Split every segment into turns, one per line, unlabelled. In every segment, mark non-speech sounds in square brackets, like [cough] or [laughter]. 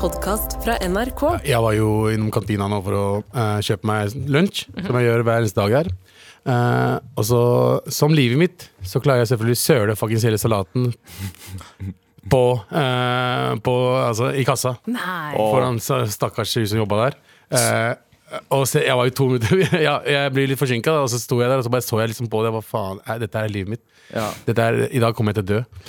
podkast fra NRK.
Jeg var jo innom kantina nå for å eh, kjøpe meg lunsj, som jeg gjør hver eneste dag her. Eh, og så, som livet mitt, så klarer jeg selvfølgelig å søle fuckings hele salaten på, eh, på Altså, i kassa.
Nei.
Foran sa- stakkars hun som jobba der. Eh, og se, jeg var jo to minutter [laughs] ja, Jeg ble litt forsinka, og så sto jeg der og så bare så jeg liksom på det. Hva faen, eh, dette er livet mitt.
Ja.
Dette er, I dag kommer jeg til å dø.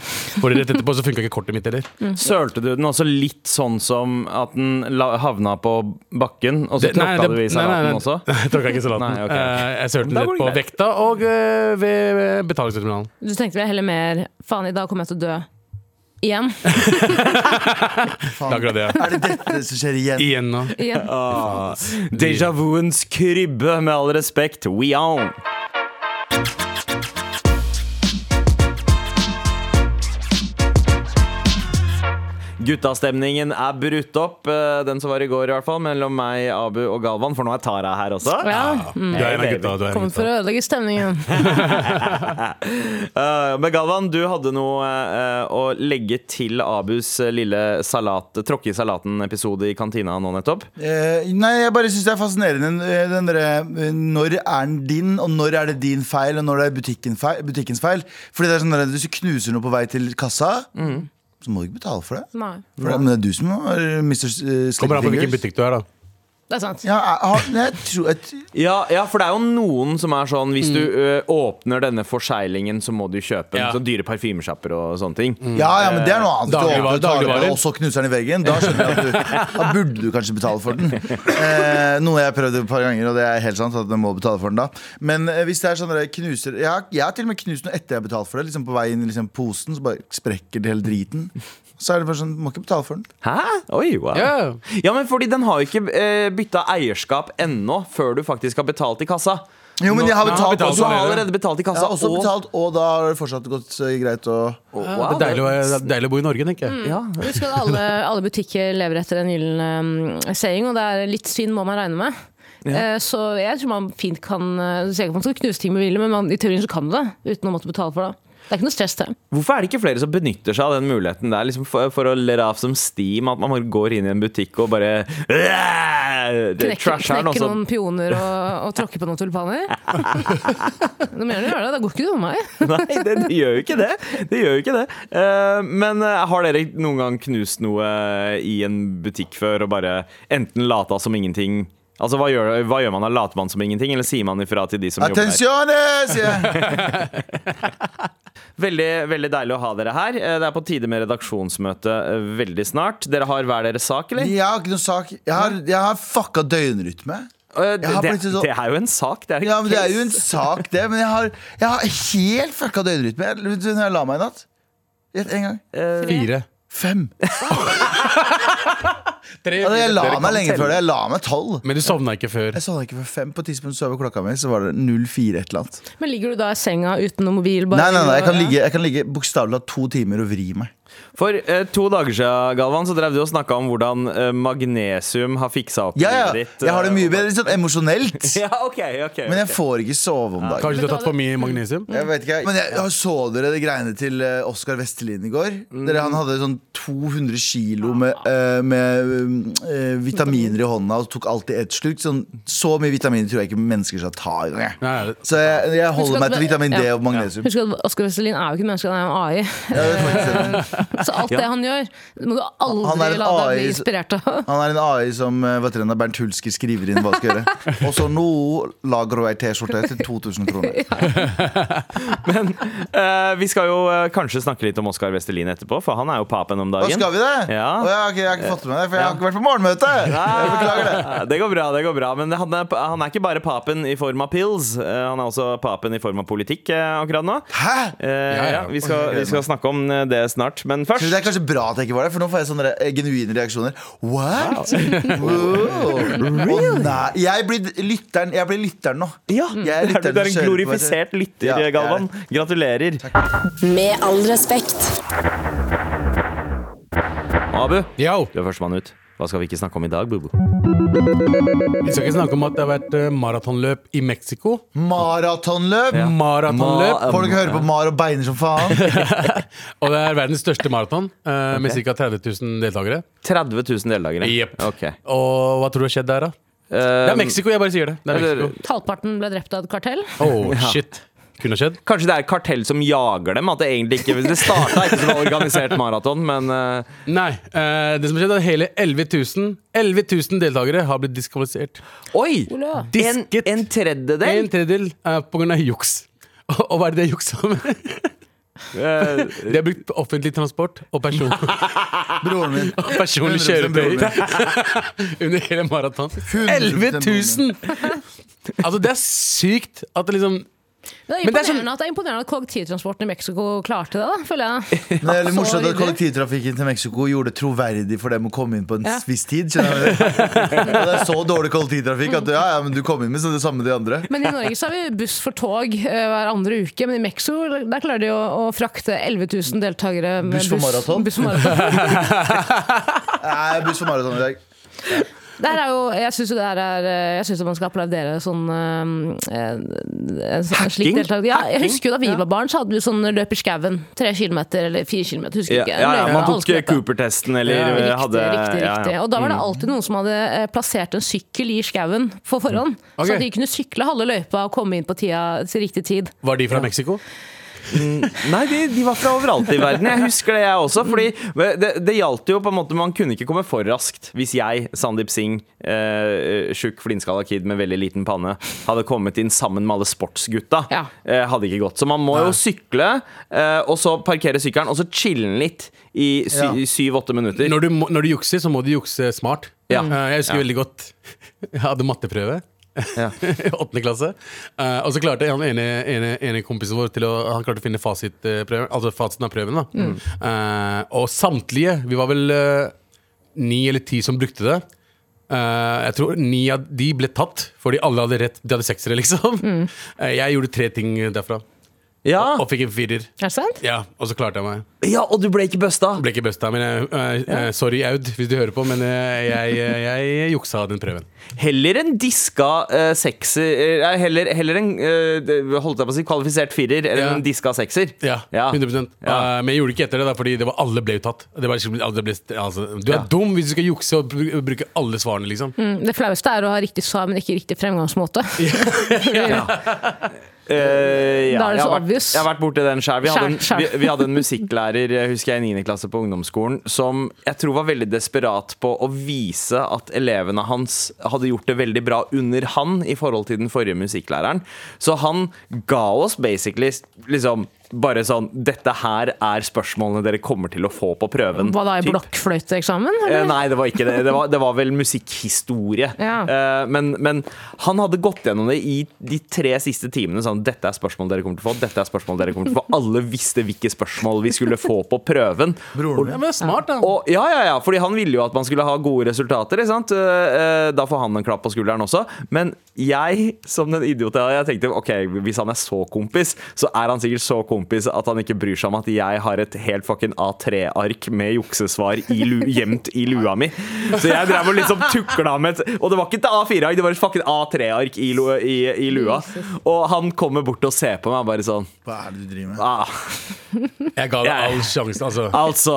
For rett etterpå så funka ikke kortet mitt heller.
Sølte du den også litt sånn som at den la- havna på bakken, og så
Det- nei,
tråkka
det-
du i
nei, nei,
salaten
nei.
også? [laughs]
Jeg tråkka ikke i salaten.
Nei, ok.
Eh, jeg sølte den
Da går
rett
det
på
greit.
vekta og eh, ved, ved betalingsterminalen.
Du tenkte vel heller mer Faen, i dag kommer jeg til å dø. Igjen.
Det er akkurat det.
Er det dette som skjer igjen?
Igjen nå.
Igjen.
Ah, Deja vuens krybbe, med all respekt. We on! Guttastemningen er brutt opp, eh, den som var i går i hvert fall, mellom meg, Abu og Galvan, for nå er Tara her også.
Ja.
Du
Mm.
er en av gutta. Du er en av
Kommer for å
gutta.
sånn.
ødelegge
[laughs]
stemningen.
Eh, Men Galvan, du hadde noe eh, å legge til Abus eh, lille salat, tråkke i salaten-episode i kantina nå nettopp.
Eh, nei, jeg bare syns det er fascinerende eh, den derre, eh, Når er den din, og når er det din feil, og når det er butikken feil, butikkens feil. Fordi det er sånn at Hvis du knuser noe på vei til kassa,
Mm.
så må du ikke betale for det.
Nei.
For det men det er du som har eh, Mr. Slippy
Kommer an på hvilken butikk du er, da.
Det er sant.
Ja, jeg, har- jeg tror jeg,
Ja, ja, for det er jo noen som er sånn Hvis du ø,
Mm.
åpner denne forseglingen, så må du kjøpe den.
Ja.
Sånn dyre parfymesjapper og sånne ting.
Ja, ja, men det er noe annet. Du
Dagligvarer-
åpner Mm. dagligvarer,
dagligvarer.
Og så knuser den i veggen. Da skjønner jeg at du Da burde du kanskje betale for den. Eh, noe jeg har prøvd et par ganger, og det er helt sant at man må betale for den da. Men eh, hvis det er sånn at jeg knuser jeg har, jeg har til og med knust noe etter jeg har betalt for det. Liksom På vei inn i liksom posen, så bare sprekker det hele driten. Så er det bare sånn, må ikke betale for den.
Hæ? Oi, wow.
Ja.
Ja, men fordi den har jo ikke uh, bytta eierskap ennå, før du faktisk har betalt i kassa.
Jo, men jeg har
Nå- Nå har jeg betalt
betalt,
Du
også.
for
har
det.
allerede betalt i
Jeg
kassa.
har også
og-
betalt, og da har det fortsatt gått eh, greit å
og-
Ja,
wow,
det, er deilig, å- det er deilig å bo i Norge, tenker jeg.
ja.
Husk at alle, alle butikker lever etter en gyllen um, saying, og det er litt svinn må man regne med. Eh, Så jeg tror man fint kan eh, Du ser ikke at man skal knuse ting med vilje, men man, i teorien så kan du det uten å måtte betale for det. Det er ikke noe stress til.
Hvorfor er det ikke flere som benytter seg av den muligheten der liksom for, for å let off som steam? At man bare går inn i en butikk og bare øh, det-
Knekke,
Trash her nå,
knekke
sånn.
noen pioner og, og tråkke på noen tulipaner. Du må gjerne gjøre det. Det går ikke noe med meg.
[laughs] Nei, det, det gjør jo ikke det. Det gjør jo ikke det. Eh, men eh, har dere noen gang knust noe eh, i en butikk før og bare enten lata som ingenting? Altså, hva gjør, hva gjør man da? Later man som ingenting, eller sier man ifra til de som jobber der?
Attenzione! sier jeg.
Veldig, veldig deilig å ha dere her. Eh, Det er på tide med redaksjonsmøte eh, veldig snart. Dere har hver deres sak, eller?
Jeg har ikke noen sak. Jeg har, jeg har fucka døgnrytme.
Eh,
Jeg har
det,
blitt så-
det er jo en sak. Det er, en
Ja, men Det er jo en
case.
sak, det. Men jeg har, jeg har helt fucka døgnrytme. Jeg- Vet du når jeg la meg i natt? Gjett en gang.
Fire.
Fem. Altså, jeg la meg lenge før det. Jeg la meg tolv.
Men du sovna ikke før.
Jeg sovna ikke før fem. På tidspunktet så over klokka mi, så var det 04 et eller annet.
Men ligger du da i senga uten noe mobil? bare-
Nei, nei, nei, jeg kan ligge, jeg kan ligge bokstavelig talt to timer og vri meg.
For eh, to dager siden, Galvan, så drev du og snakka om hvordan eh, magnesium har fiksa opp
Ja, ja,
livet ditt.
jeg har det
eh,
mye bedre sånn emosjonelt,
[laughs] Ja, ok, ok
men jeg får ikke sove om dagen.
Kanskje du har tatt for mye magnesium?
Jeg vet ikke, jeg. Men jeg, jeg så dere det greiene til eh, Oskar Vestelin i går? Dere, han hadde sånn 200 kilo med, eh, med eh, vitaminer i hånda og tok alltid ett slurk. Sånn, så mye vitaminer tror jeg ikke mennesker skal ta i gang. jeg.
Nei, det-
Så jeg, jeg
Husk
holder
at
meg til
det-
vitamin D
ja.
og magnesium.
Husk at Oskar Vestelin er jo ikke et menneske, han er en
[laughs]
AI. Så alt det han gjør, må du
Han er
aldri
en
la deg bli
AI, så-
inspirert av.
Han er en AI som eh, hva heter den da, Bernt Hulsker skriver inn hva han skal gjøre. Og så nå lager hun ei T-skjorte til 2000 kroner.
Eh, vi skal jo eh, kanskje snakke litt om Oskar Vestelin etterpå, for han er jo papen om
Da
dagen.
skal vi det?
Ja.
Å, ja, ok, jeg har ikke fått med det, for jeg har ikke vært på morgenmøte! Jeg beklager det.
Ah, det går bra, det går bra. Men han er, han er ikke bare papen i form av pills. eh, Han er også papen i form av politikk eh, akkurat nå.
Hæ?
Eh, ja,
ja.
vi, skal, vi skal snakke om eh, det snart, men
Så Det
først
er kanskje bra at jeg ikke var der, for nå får jeg sånne re- genuine reaksjoner. What?
[laughs]
Wow. Å, nei. Jeg blir lytteren, jeg blir lytteren nå.
ja,
Jeg
det [laughs] er,
lytter,
du er en
du hører på,
glorifisert lytter,
Ja, jeg er
Galvan. Gratulerer.
[laughs] Med all respekt.
Abu,
Yo!
du er førstemann ut. Hva skal vi ikke snakke om i dag, Bubu?
Vi skal ikke snakke om at det har vært eh, maratonløp i Mexico.
Maratonløp!
Ja.
Maratonløp.
Ma-
Folk hører på Mar og beiner som faen.
Og det er verdens største maraton, eh, med ca. 30 000 deltakere.
30 000 deltakere.
Jepp.
Ok. Um,
Og hva tror du har skjedd der, da? Det er Mexico, jeg bare sier det. det er
Eller-
Mexico.
Halvparten ble drept av et kartell.
[laughs]
Oh, shit. Kunne skjedd.
Kanskje det er et kartell som jager dem? At det egentlig ikke Det starta ikke som en organisert maraton, men eh,
Nei. eh, det som har skjedd, er at hele 11 000, 11 000 deltakere har blitt diskvalifisert.
Oi!
Ole.
En,
Disket.
en tredjedel?
En tredjedel uh, pga. juks. [laughs] Og, og hva er det de har juksa med?
Eh,
De har brukt offentlig transport og
[laughs]
person,
Broren min.
[laughs] personlig
100% broren
kjøretøy
min.
[laughs] under hele maraton. 11
100% broren
000! Altså, det er sykt at det liksom
Det er
Men det er sånn-
imponerende, at, det er imponerende at kollektivtransporten i Mexico klarte det, da, føler jeg.
Det er litt
Så
morsomt at
hyggelig.
kollektivtrafikken til Mexico gjorde det troverdig for dem å komme inn på en
Ja.
viss tid. skjønner du? Og det er så dårlig kollektivtrafikk at ja, ja, men du kom inn med så det samme de andre.
Men
[laughs]
i Norge så har vi buss for tog eh, hver andre uke, men i Mexico der klarer de å, å frakte 11 000 deltakere med
Buss for maraton?
buss for
[laughs]
maraton.
Nei, buss for maraton i dag.
Det her er jo, jeg syns jo det her er eh, Jeg synes at man skal applaudere sånn eh, eh, en sånn- en slik
Hacking?
deltaker. Ja, jeg
Hacking?
husker jo da vi var barn, så hadde vi sånn løp i skauen. Tre kilometer eller fire kilometer, husker
ja,
ikke.
ja, ja,
Løpet,
man
alle
tok
skulle
eh,
løpe.
Cooper-testen, eller
Ja.
eh,
Riktig,
hadde
riktig,
ja, Mm.
riktig.
ja.
Og da var det alltid noen som hadde eh, plassert en sykkel i skauen på
Mm.
forhånd.
Ok.
Så at de kunne sykle halve løypa og komme inn på tida til riktig tid.
Var de fra Mexico?
Mm. Nei, de, de var fra overalt i verden. Jeg husker det, jeg også. Fordi det, det gjaldt jo på en måte Man kunne ikke komme for raskt hvis jeg, Sandeep Singh, eh, tjukk, flintskalla kid med veldig liten panne, hadde kommet inn sammen med alle sportsgutta.
Ja.
Eh, hadde ikke gått. Så man må jo sykle, eh, og så parkere sykkelen, og så chille den litt i
Ja.
syv-åtte minutter.
Når du, må- når du jukser, så må du jukse smart.
Ja.
Eh, jeg husker
Ja.
veldig godt [laughs] Jeg hadde matteprøve.
Ja.
I [laughs] åttende klasse. Eh, og så klarte han ene, ene, ene kompisen vår til å, han klarte å finne fasitprøven, altså fasiten av prøven. da Eh, Og samtlige, vi var vel eh, ni eller ti som brukte det. Eh, jeg tror ni av de ble tatt, fordi alle hadde rett. De hadde seksere, liksom. [laughs] Eh, jeg gjorde tre ting derfra,
Ja.
og fikk en firer.
Er det sant?
Ja, og så klarte jeg meg.
ja, og du ble ikke busta!
Ble ikke busta, men jeg, eh, eh, sorry Aud, hvis du hører på, men eh, jeg, eh, jeg juksa den prøven.
Heller en diska eh, sekser eh, nei, heller, heller en eh, det- holdt jeg på å si, kvalifisert firer enn
Ja.
en diska sekser.
Ja, 100
Ja.
Eh, Men jeg gjorde det ikke etter det, da, fordi det var, alle ble jo tatt. Det var, liksom- alle ble, altså, du er
Ja.
dum hvis du skal jukse og bru- bruke alle svarene, liksom.
Mm, Det flaueste er å ha riktig svar, men ikke riktig
[laughs]
fremgangsmåte.
Eh, ja,
Da er det
jeg
så
har vært-
obvious.
Jeg har vært borti den sjøl. Vi, hadde en-
Skjær, skjær.
vi, vi hadde en musikklærer jeg husker jeg, i 9. klasse på ungdomsskolen som jeg tror var veldig desperat på å vise at elevene hans hadde gjort det veldig bra under han i forhold til den forrige musikklæreren. Så han ga oss basically liksom bare sånn Dette her er spørsmålene dere kommer til å få på prøven.
Hva da, i
typ.
blokkfløyteeksamen?
Eh,
eller?
Nei, det var ikke det. Det var, det var vel musikkhistorie.
Ja.
Eh, men, men han hadde gått gjennom det i de tre siste timene. Sånn, dette er spørsmål dere kommer til å få. Dette er spørsmål dere kommer til å få. Alle visste hvilke spørsmål vi skulle få på prøven.
Broren
Ja,
min.
men det er smart, da.
Og, ja, ja, ja, fordi han ville jo at man skulle ha gode resultater. Ikke sant? Eh, eh, Da får han en klapp på skulderen også. Men jeg, som den idioten jeg er, jeg tenkte ok, hvis han er så kompis, så er han sikkert så kompis at han ikke bryr seg om at jeg har et helt fucking A3-ark med juksesvar i lu gjemt i lua mi. Så jeg drev og liksom tukla med et Og det var ikke et A4-ark, det var et fucking A3-ark i, lu- i, i lua. Og han kommer bort og ser på meg bare sånn
Hva er det du driver med?
ah.
Jeg ga det
Ja, ja.
all sjansen, altså.
Altså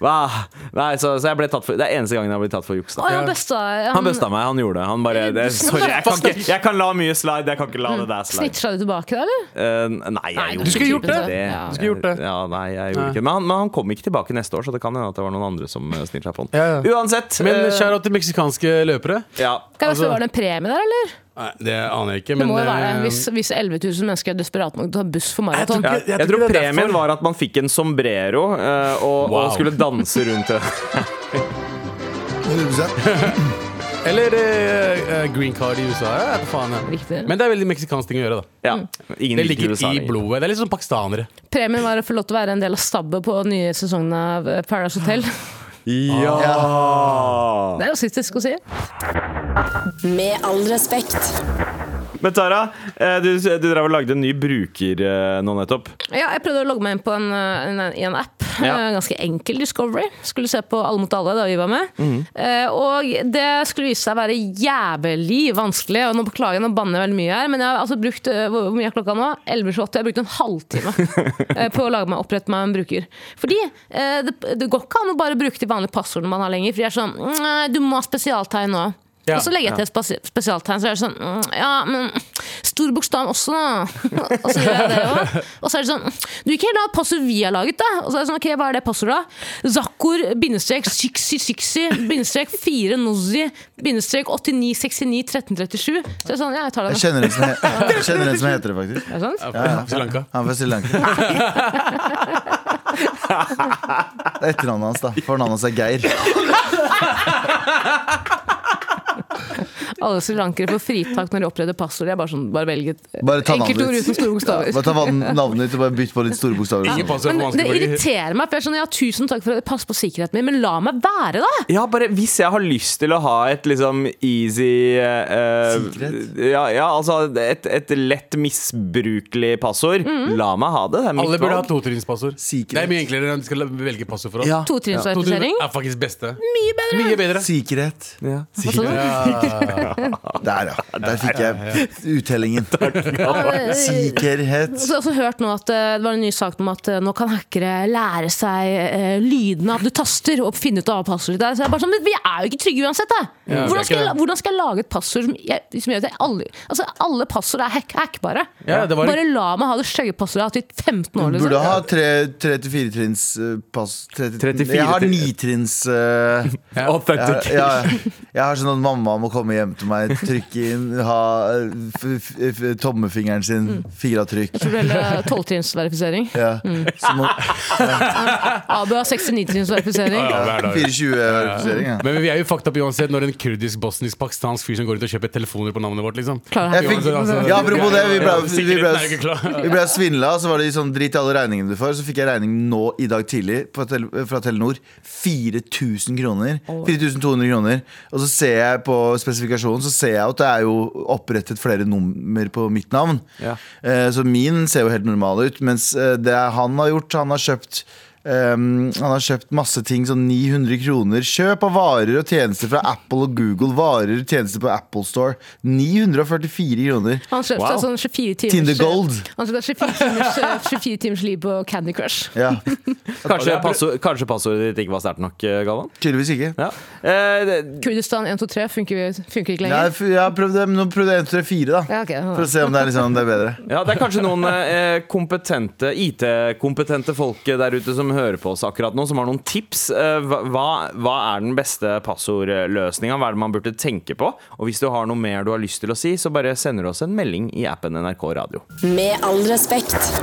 hva? Nei, så, så jeg ble tatt for Det er eneste gangen jeg har blitt tatt for juks.
Å,
da
han busta.
Han busta meg. Han gjorde det. Han bare det, Sorry, jeg kan, ikke, jeg kan la mye slide. Jeg kan ikke la det der slide.
Snitcha du tilbake da, eller?
Eh, nei, jeg
Nei,
gjorde
du skulle
gjort
ikke
det.
Ja. Du
skulle gjort det.
Ja, nei, jeg gjorde
Nei.
ikke det. Men han, men han kom ikke tilbake neste år, så det kan hende at det var noen andre som eh, snitcha på han.
Ja, ja.
Uansett.
Men
eh,
kjære til meksikanske løpere.
ja.
Kan jeg
Altså-
spørre, Var det en premie der, eller?
Nei, det aner jeg ikke,
Det
men
må jo være
eh,
det, hvis, hvis 11 000 mennesker er desperate nok til å ta buss for maraton.
Ja,
Jeg- jeg
jeg
tror
tror
ikke det er
premien
derfor.
var at man fikk en sombrero eh, og,
Wow.
og skulle danse
[laughs]
rundt det.
100%.
Eller eh, eh, green card i USA. Jeg vet faen, jeg.
Riktig.
Men det er veldig meksikansk ting å gjøre, da.
Ja. Ingen
Det
liker
ligger
USA
i
lenger.
blodet. Det er litt som pakistanere.
Premien var å få lov til å være en del av stabbet på den nye sesongen av eh, Paradise Hotel.
Ja!
Det er rasistisk å si.
Med all respekt.
Men Tara, eh, du, du drev og lagde en ny bruker eh, nå nettopp.
Ja, jeg prøvde å logge meg inn på en, eh, en, i en app.
Ja.
Eh, [laughs] Ganske enkel Discovery. Skulle se på Alle mot alle da vi var med. Eh, og det skulle vise seg å være jævlig vanskelig. Og nå beklager jeg, nå banner jeg veldig mye her, men jeg har altså brukt eh, hvor hvor mye er klokka nå? 11.28. Jeg har brukt en halvtime eh, på å lage meg, opprette meg en bruker. Fordi eh, det, det går ikke an å bare bruke de vanlige passordene man har lenger. For de er sånn «Nei, Du må ha spesialtegn nå.
Ja.
Og så legger jeg til et spasi- spesialtegn, så er det sånn «Mm, Ja, men stor bokstav også, da. og så gjør jeg det også. Og så er det sånn Du gikk helt av passord vi har laget, da. Og så er det sånn, ok, hva er det passordet? da? Zakor, bindestrek, 6060, bindestrek 4, Nozzi, bindestrek 89, 69, 1337. Så er det sånn, ja, jeg tar
Jeg
det.
kjenner en som, he jeg kjenner en som heter det, faktisk.
Er det sånn? sant?
Ja, Sri Lanka.
Han er fra Sri [laughs] Lanka. Det er etternavnet hans, da. Fornavnet hans er Geir.
Alle srilankere får fritak når de oppreder passord. Jeg bare, sånn, bare velger et
Bare ta navnet
enkeltord
ditt.
uten store bokstaver.
Bare ta van- navnet ditt og bare bytt på litt store bokstaver.
Ingen passord for
Men det
vanskelige bruker.
irriterer meg, for jeg er sånn, ja, tusen takk for at dere passer på sikkerheten min, men la meg være, da!
Ja, bare hvis jeg har lyst til å ha et liksom easy eh,
Sikkerhet.
ja, ja, altså et, et lett misbrukelig passord. La meg ha det. Det er mitt
Alle burde ha
valg.
totrinnspassord.
Sikkerhet.
Det er mye enklere enn de skal velge passord for oss.
Ja.
Totrinnsverifisering.
er faktisk beste. Mye bedre. Mye bedre.
Sikkerhet.
Ja.
Hva sa du?
Der, ja. Der fikk jeg uttellingen.
[laughs]
Sikkerhet.
Så har jeg også hørt nå at eh, det var en ny sak om at eh, nå kan hackere lære seg eh, lydene av at du taster, og finne ut av passordet der. Så jeg er bare sånn, men vi er jo ikke trygge uansett, da!
Ja, vi er
hvordan, skal
ikke
jeg,
det.
hvordan skal jeg lage et passord som, jeg, som gjør at jeg aldri Altså, alle passord er hack hackbare.
Ja, det var-
Bare la meg ha det stygge passordet jeg har hatt i 15 år,
Burde
liksom.
ha tre- tre til fire trins eh, pass. Tre til-
34
Jeg har ni trins eh, jeg,
Authentic.
jeg, jeg har sånn at mamma må komme hjem til meg, trykke inn, ha eh, f, f, f, tommefingeren sin,
Mm.
firavtrykk.
Tror du heller Tolvtrinnsverifisering.
Ja. Så må,
Abu har 69-trinnsverifisering.
Ja, hver dag.
24-verifisering, ja.
Men vi er jo fucked up uansett når en kurdisk, bosnisk, pakistansk fyr som går rundt og kjøper telefoner på navnet vårt, liksom.
Klarer
Jeg
hack.
fikk,
Altså,
ja, apropos det, vi ble,
ja,
vi ble,
sikkerheten er jo ikke klar.
vi ble svindla, og så var det sånn drit i alle regningene du får. Så fikk jeg regning nå i dag tidlig på tel fra Telenor. 4200 kroner. 4200 kroner. Og så ser jeg på spesifikasjonen, så ser jeg at det er jo opprettet flere nummer på mitt navn.
Ja.
Eh, Så min ser jo helt normal ut, mens eh, det han har gjort, han har kjøpt ehm, han har kjøpt masse ting, sånn 900 kroner. Kjøp av varer og tjenester fra Apple og Google. Varer og tjenester på Apple Store. 944 kroner.
Han kjøpte
Wow.
sånn 24 timers
Tinder Gold.
Han kjøpte 24 timers, 24 timers liv på Candy Crush.
Ja,
Kanskje, passord, kanskje passordet ditt ikke var sterkt nok, eh, Galvan?
tydeligvis ikke.
Ja. Eh, det-
Kurdistan 123 funker, funker ikke
Jeg,
lenger.
jeg har prøvd det, men nå prøvde jeg 134, da.
Ja, ok.
For å se om det er, liksom, det er bedre.
ja, det er kanskje noen eh, kompetente IT-kompetente folk der ute som hører på oss akkurat nå, som har noen tips. Eh, hva- hva, hva er den beste passordløsninga? Hva er det man burde tenke på? Og hvis du har noe mer du har lyst til å si, så bare sender du oss en melding i appen NRK Radio.
Med all respekt.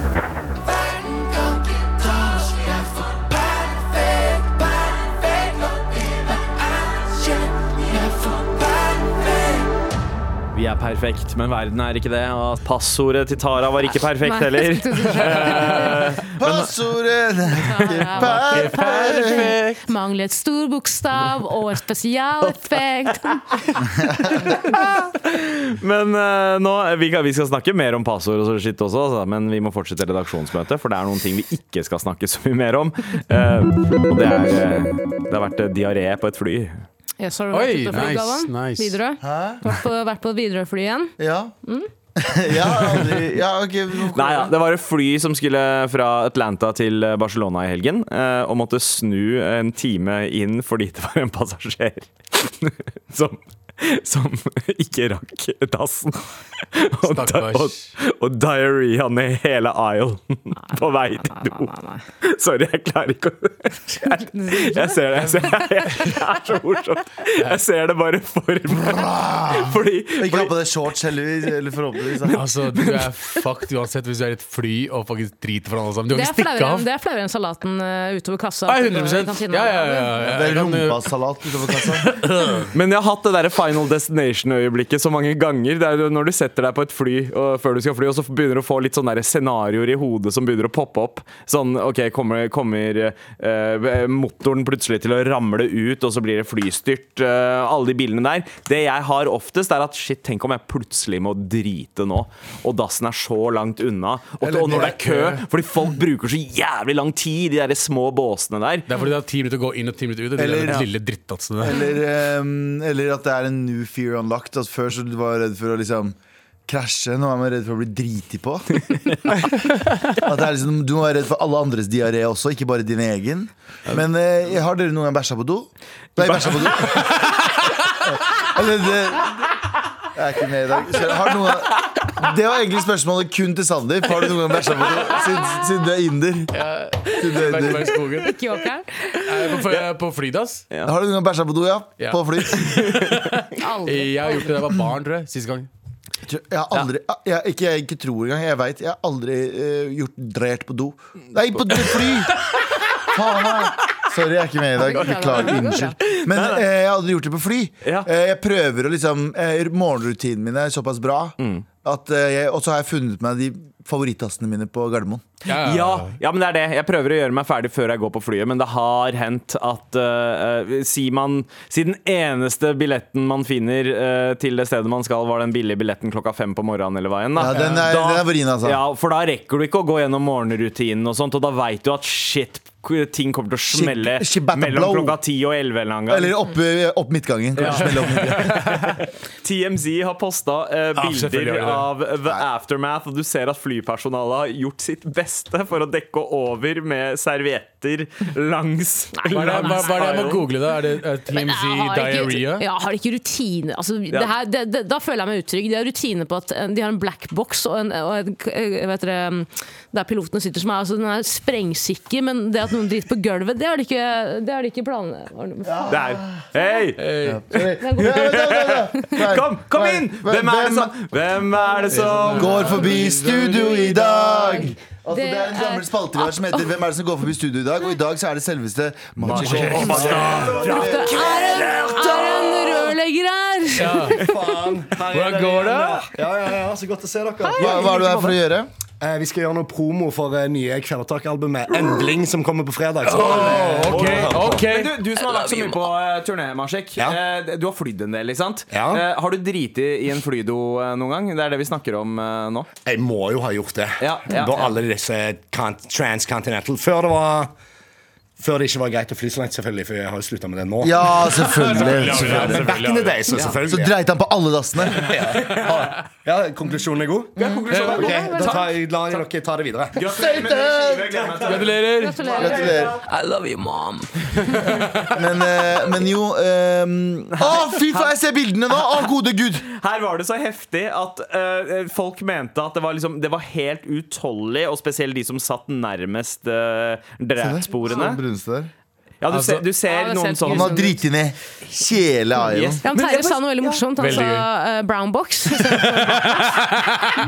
Vi er perfekt, men verden er ikke det. Og passordet til Tara var ikke perfekt
[laughs]
heller.
Passordet er [laughs] ikke perfekt.
Manglet stor bokstav og en spesialeffekt.
Men eh, nå, vi, kan, vi skal snakke mer om passord og sånn skitt også, altså, men vi må fortsette redaksjonsmøtet, for det er noen ting vi ikke skal snakke så mye mer om. Eh, og det, er, eh, det har vært eh, diaré på et fly.
Yes, har du
Oi,
vært ute og flydd,
nice,
Galvan?
nice.
Widerøe? Vært på, vært på et Widerøe-fly igjen?
Ja.
Mm?
[laughs] ja, aldri- ja, ok. hvorfor-
Nei, ja, det var et fly som skulle fra Atlanta til eh, Barcelona i helgen, eh, og måtte snu en time inn fordi det var en passasjer [laughs] som som ikke rakk dassen. Og, da, og,
Stakkars.
og diarreaen i hele islen på vei til do. [laughs] Sorry, jeg klarer ikke å Jeg, jeg ser det. Jeg ser, [laughs] jeg, det er så morsomt. Jeg ser det bare for meg. Fordi,
Ikke ha
fordi
på deg shorts, heldigvis. Eller forhåpentligvis. da.
Altså, du er fucked uansett hvis du er i et fly og faktisk driter for alle sammen. Du
Det
kan
er
ikke stikke
flauere
av.
enn- det er flauere enn salaten eh, utover kassa.
Nei,
på
100
kantina.
ja, ja, ja, ja.
Det er altså.
Jeg kan, uh,
rumpasalat utover kassa.
Men jeg har hatt det der Final Destination-øyeblikket så mange ganger. Det er jo når du setter deg på et fly og, før du skal fly, og så begynner du å få litt sånne der scenarioer i hodet som begynner å poppe opp. Sånn OK, kommer, kommer eh, motoren plutselig til å ramle ut, og så blir det flystyrt. eh, alle de bildene der. Det jeg har oftest, er at shit, tenk om jeg plutselig må drite nå, og dassen er så langt unna. Og,
Eller
og når det er
det
kø,
er
fordi folk bruker så jævlig lang tid, i de der små båsene der.
Det er fordi det er ti minutter å gå inn og ti minutter ut. Og
Eller-
de
ja.
der lille drittatsene der.
Eller, ehm, eller at det er en new fear unlocked. At før så var jeg redd for å liksom krasje, nå er man redd for å bli driti på. At det er liksom, du må være redd for alle andres diaré også, ikke bare din egen. Men eh, har dere noen gang bæsja på do? Nei, bæsja på do. Eller det Jeg er ikke med i dag. Så har noen gang- det var egentlig spørsmålet kun til Sandeep. Har du noen gang bæsja på do? Siden, siden du er inder. Siden du er
Berg-
inder.
Bergskogen.
Ikke åkeren.
Jeg er På, på flydass?
Har du noen gang bæsja på do, ja?
Ja.
På fly?
Aldri.
Jeg har gjort det da jeg var barn, tror jeg. Sist gang.
Tror- Jeg har aldri jeg, ikke, jeg ikke tror engang, jeg veit. Jeg har aldri eh, gjort drert på do. Nei, på do, fly! Faen, nei. Sorry, jeg er ikke med i dag. Beklager. Unnskyld. Men eh, jeg har aldri gjort det på fly.
Ja.
Eh, jeg prøver å liksom eh, Morgenrutinene mine er såpass bra, at, eh, jeg- og så har jeg funnet meg de favorittassene mine på Gardermoen.
Ja, ja, men det er det. Jeg prøver å gjøre meg ferdig før jeg går på flyet, men det har hendt at eh, eh, si, man, si den eneste billetten man finner eh, til det stedet man skal, var den billige billetten klokka fem på morgenen eller hva enn. da.
Ja, den er- den er vrien, altså.
Ja, for da rekker du ikke å gå gjennom morgenrutinen og sånt, og da veit du at shit, ting kommer til å
Shit-
smelle
shit about to
mellom
blow.
klokka ti og elleve en eller annen gang.
Eller opp, eh, opp midtgangen. kanskje, mellom midtgangen.
[laughs] TMZ har posta eh,
selvfølgelig
bilder
har
av The Aftermath, og du ser at flypersonalet har gjort sitt beste for å dekke over med servietter langs
Hva er det, hva, hva er det jeg må
aislen.
google, da? Er det eh,
Men jeg
TMZ
har ikke-
diarrhea?
Ja, har de ikke rutine altså, det
Ja.
her, det, det, Da føler jeg meg utrygg. De har rutine på at eh, de har en black box og en, og en k- eh, vet dere, mm, der pilotene sitter, som er, altså, den er sprengsikker, men det at noen driter på gulvet, det har de ikke, det har de ikke planer
Det er Hei!
[laughs] Ja, ja, ja, ja.
Kom, kom inn! Hvem er det som Hvem er det som
Går forbi studio i dag. Altså, det,
Det
er en gammel
er-
spalte vi har som heter Hvem er det som går forbi studio i dag? Og i dag så er det selveste Martin Schjøtt.
Det er en, er en rørlegger her!
Hvordan går det?
Ja, ja, ja, så godt å se dere.
Hva, hva er du her for å gjøre?
Eh, vi skal gjøre noe promo for det nye Kvelertak-albumet Endling, som kommer på fredag. Så. eh,
Ok, ok.
Men du, du som har vært så mye på uh, turné, Marsek.
Ja.
eh, du har flydd en del, ikke sant?
Ja.
Eh, har du driti i en flydo eh, noen gang? Det er det vi snakker om eh, nå.
Jeg må jo ha gjort det.
Ja, ja,
da
ja.
alle disse kan- transcontinental Før det var før det ikke var greit å fly så langt, selvfølgelig, for jeg har jo slutta med det nå.
Ja,
[laughs]
selvfølgelig.
Men Back in the day, så
Så
selvfølgelig.
dreit han på alle dassene.
Ja, konklusjonen er god?
Konklusjonen
Ok,
er god.
da tar, jeg- lar jeg dere ta det videre.
Gratulerer med det skivet, gleder meg til det.
Gratulerer.
Gratulerer.
Gratulerer.
I love you, mom.
[laughs] Men, eh, men jo ehm, Å, fy faen, jeg ser bildene nå! Å, gode gud!
Her var det så heftig at eh, folk mente at det var, liksom, det var helt utholdelig, og spesielt de som satt nærmest uh, drepsporene.
Sånn
Ja, du,
altså-
ser, du
Ja,
ser
det ser
noen
helt
sånn-
Han
sånne
grusomt.
har driti ned hele Ayon.
Yes.
Jan
Men jeg
Terje
bare-
sa noe veldig morsomt. Han
Veldig
sa eh, brown box.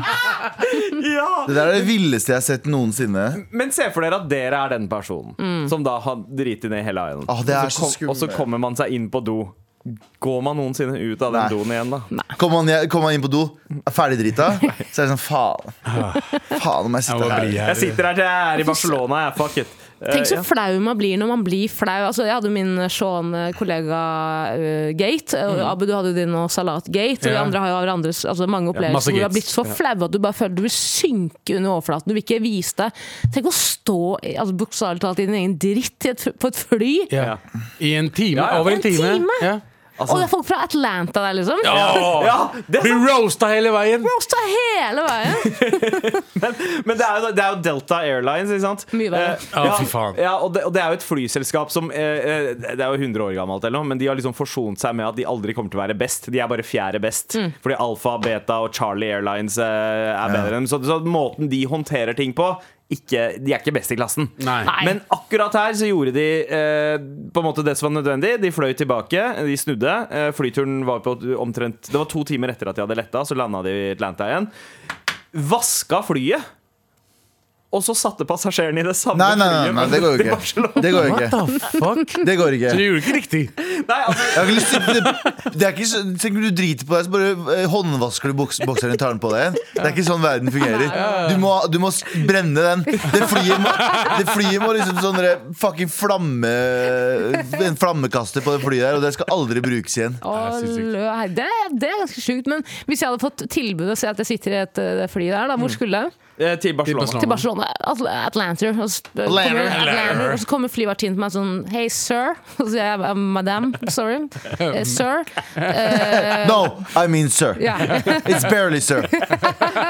Ja!
Det der er det villeste jeg har sett noensinne.
Men se for dere at dere er den personen som da har driti ned hele øynene.
Ah, det er
og,
så
så kom,
skummelt.
og så kommer man seg inn på do. Går man noensinne ut av den
Nei.
doen igjen, da?
Kommer han, kom han inn på do, er ferdig drita, så er det sånn faen. Faen om
Ah. Jeg må
jeg sitter her.
bli her.
Jeg sitter her til jeg er i Barcelona, jeg. Fuck it. Eh,
Tenk så
ja.
flau man blir når man blir flau. Altså, jeg hadde min Sean-kollega eh, Gate. og Abu, du hadde jo din og Salat Gate. Og vi
Mm. Ja.
andre har jo hverandres altså, mange
masse
opplevelser hvor du har
gates.
blitt så flau at du bare føler du vil synke under overflaten. Du vil ikke vise deg. Tenk å stå i- altså, bokstavelig talt i din egen dritt i et, f- på et fly.
Ja. I en time.
Ja, ja.
Over en
En
time.
time?
Ja.
og det er folk fra Atlanta der, liksom.
Åh,
Altså- ja, det er
Blir roasta hele veien.
Roasta hele
[laughs]
veien!
Men det er jo, det er jo Delta Airlines, ikke sant?
Mye verre.
Eh,
Ja,
ja,
fy faen.
Ja, og, det, og det er jo et flyselskap som eh, eh, Det er jo 100 år gammelt, eller noe, men de har liksom forsont seg med at de aldri kommer til å være best. De er bare fjerde best.
Mm.
Fordi Alfa, Beta og Charlie Airlines eh, er bedre enn dem. Så, så måten de håndterer ting på ikke, de er ikke best i klassen.
Nei. Nei.
Men akkurat her så gjorde de eh, på en måte det som var nødvendig. De fløy tilbake, de snudde. Eh, flyturen var på omtrent Det var to timer etter at de hadde letta, så landa de i Atlanta igjen. Vaska flyet! Og så satte passasjerene i det samme
Nei, nei, nei, nei, det går jo
til
ikke.
Barcelona.
Det går jo
What
ikke.
the fuck?
Det går
Så
ikke.
du gjorde ikke riktig.
Nei, altså,
Jeg har ikke lyst til Det er ikke så, tenk om du driter på deg, så bare eh, håndvasker du boks, bokseren og tar den på deg igjen. Det er ikke sånn verden fungerer. Du må, du må s- brenne den. Det flyet må, det flyet må liksom sånn der fucking flamme En flammekaster på det flyet der, og det skal aldri brukes igjen.
Å,
Det er sinnssykt.
lø- hei, det, det er ganske sjukt. Men hvis jeg hadde fått tilbud å se at jeg sitter i et eh, fly der,
Mm.
da, hvor skulle jeg?
Eh, Til Barcelona.
Barcelona.
Til Barcelona. Atl Atlanter. Og så kommer, Atlanter. Og så kommer flyvertinnen til meg sånn Hei, sir. Og så sier jeg "Um, madam. Sorry.
[laughs]
Eh, sir. Eh,
No, I mean sir.
ja.
It's barely sir.
[laughs]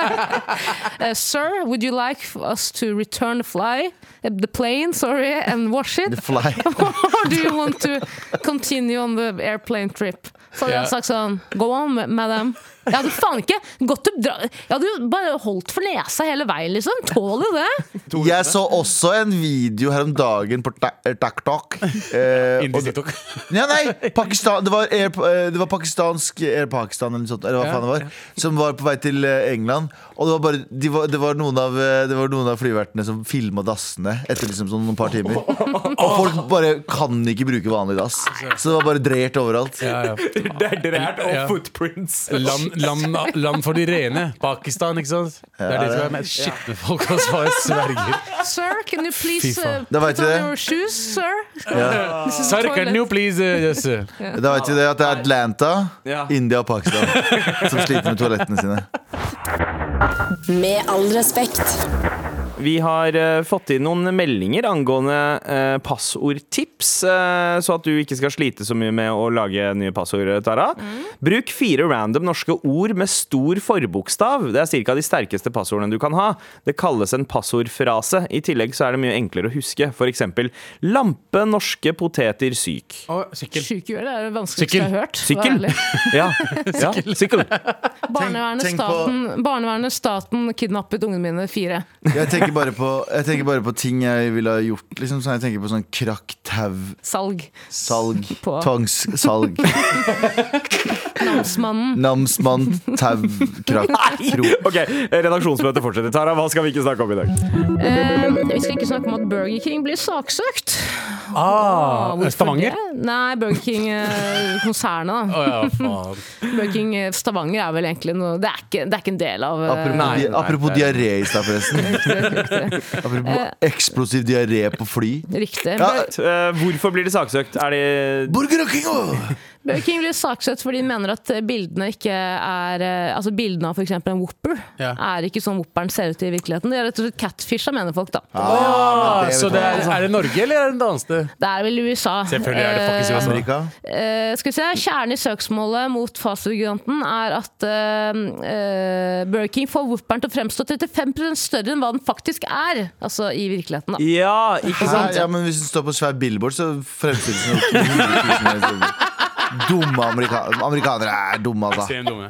Eh, sir, would you like us to return the fly? eh, The plane, sorry, and wash it?
The fly.
Or do you want to continue on the airplane trip? Så hadde
Ja.
jeg sagt sånn Go on, ma- madam. Jeg hadde faen ikke gått til dra Jeg hadde jo bare holdt for nesa hele veien, liksom. Tåler jo
[laughs]
det.
Jeg så også en video her om dagen på Ta- eh, TikTok. Eh, og
Indisk
det-
TikTok.
Ja, nei, Pakistan, det, var Air, eh, det var pakistansk Air Pakistan eller, noe sånt, eller hva
Ja,
faen det var, som var på vei til eh, England. Og det var, bare, de var, det var, noen, av, eh, det var noen av flyvertene som filma dassene etter liksom sånn noen par timer. Og folk bare kan ikke bruke vanlig dass. Så det var bare drert overalt.
Ja, ja.
Det er drært og
Ja.
footprints.
Land, land, land for de rene. Pakistan, ikke sant? Det er
Ja,
det som
det-
er med skitne folk og svarer sverger.
Sir, can you please
Fy
uh,
faen.
Da vet
put on
vi det.
your shoes, sir? This is
Sorry,
toilet.
can you please uh, yes, uh,
Da vet vi det at det er Atlanta,
Ja.
India og Pakistan som sliter med toalettene sine.
Med all respekt.
Vi har eh, fått inn noen meldinger angående eh, passordtips, eh, så at du ikke skal slite så mye med å lage nye passord, eh, Tara. Bruk fire random norske ord med stor forbokstav. Det er ca. de sterkeste passordene du kan ha. Det kalles en passordfrase. I tillegg så er det mye enklere å huske. F.eks.: Lampe norske poteter syk.
å, Sykkel.
Sykehuel er det vanskeligste
Sykkel.
jeg har hørt. vær
[laughs]
Sykkel.
ærlig.
Ja. ja. Sykkel.
Barnevernet,
tenk på-
staten, barnevernet, staten kidnappet ungene mine fire.
Jeg tenker bare på, jeg tenker bare på ting jeg ville ha gjort. Liksom, så jeg tenker på sånn krakk, tau,
Salg.
salg,
På.
tvangssalg,
Namsmannen.
namsmann, tau, krakk, kro.
Ok, Redaksjonsmøtet fortsetter. Tara, hva skal vi ikke snakke om i dag?
Eh, vi skal ikke snakke om at Burger King blir saksøkt.
Ah,
Hvorfor
Stavanger?
det? Nei, Burger King-konsernet.
Å ja, faen.
da Burger King eh, Stavanger er vel egentlig noe Det er ikke, det er ikke en del av eh,
Apropos,
Nei,
di
nei,
apropos
det er-
diaré i stad,
[laughs]
forresten. Apropos eksplosiv diaré på fly.
Riktig.
Ja.
Bur-
Eh, Hvorfor blir de saksøkt? Er de
Burger og Kingo!
Burger King blir saksøkt fordi de mener at eh, bildene ikke er eh, Altså bildene av f.eks. en Whopper
Ja.
er ikke sånn Whopperen ser ut i virkeligheten. De er rett og slett catfisha, mener folk, da.
Ah, så det er, er det Norge eller er det et annet sted?
Det er vel i USA.
Selvfølgelig er det
Eh,
faktisk USA.
Amerika.
Eh, skal vi se, Kjernen i søksmålet mot fastfood-giganten er at eh, eh, Burger King får Whooperen til å fremstå 35 større enn hva den faktisk er. Altså i virkeligheten, da.
Ja, ikke
Hæ?
sant?
Ja, men hvis det står på svær billboard, så fremstilles det som 100 000 Dumme amerika amerikanere er dumme, altså.
Ekstremt dumme.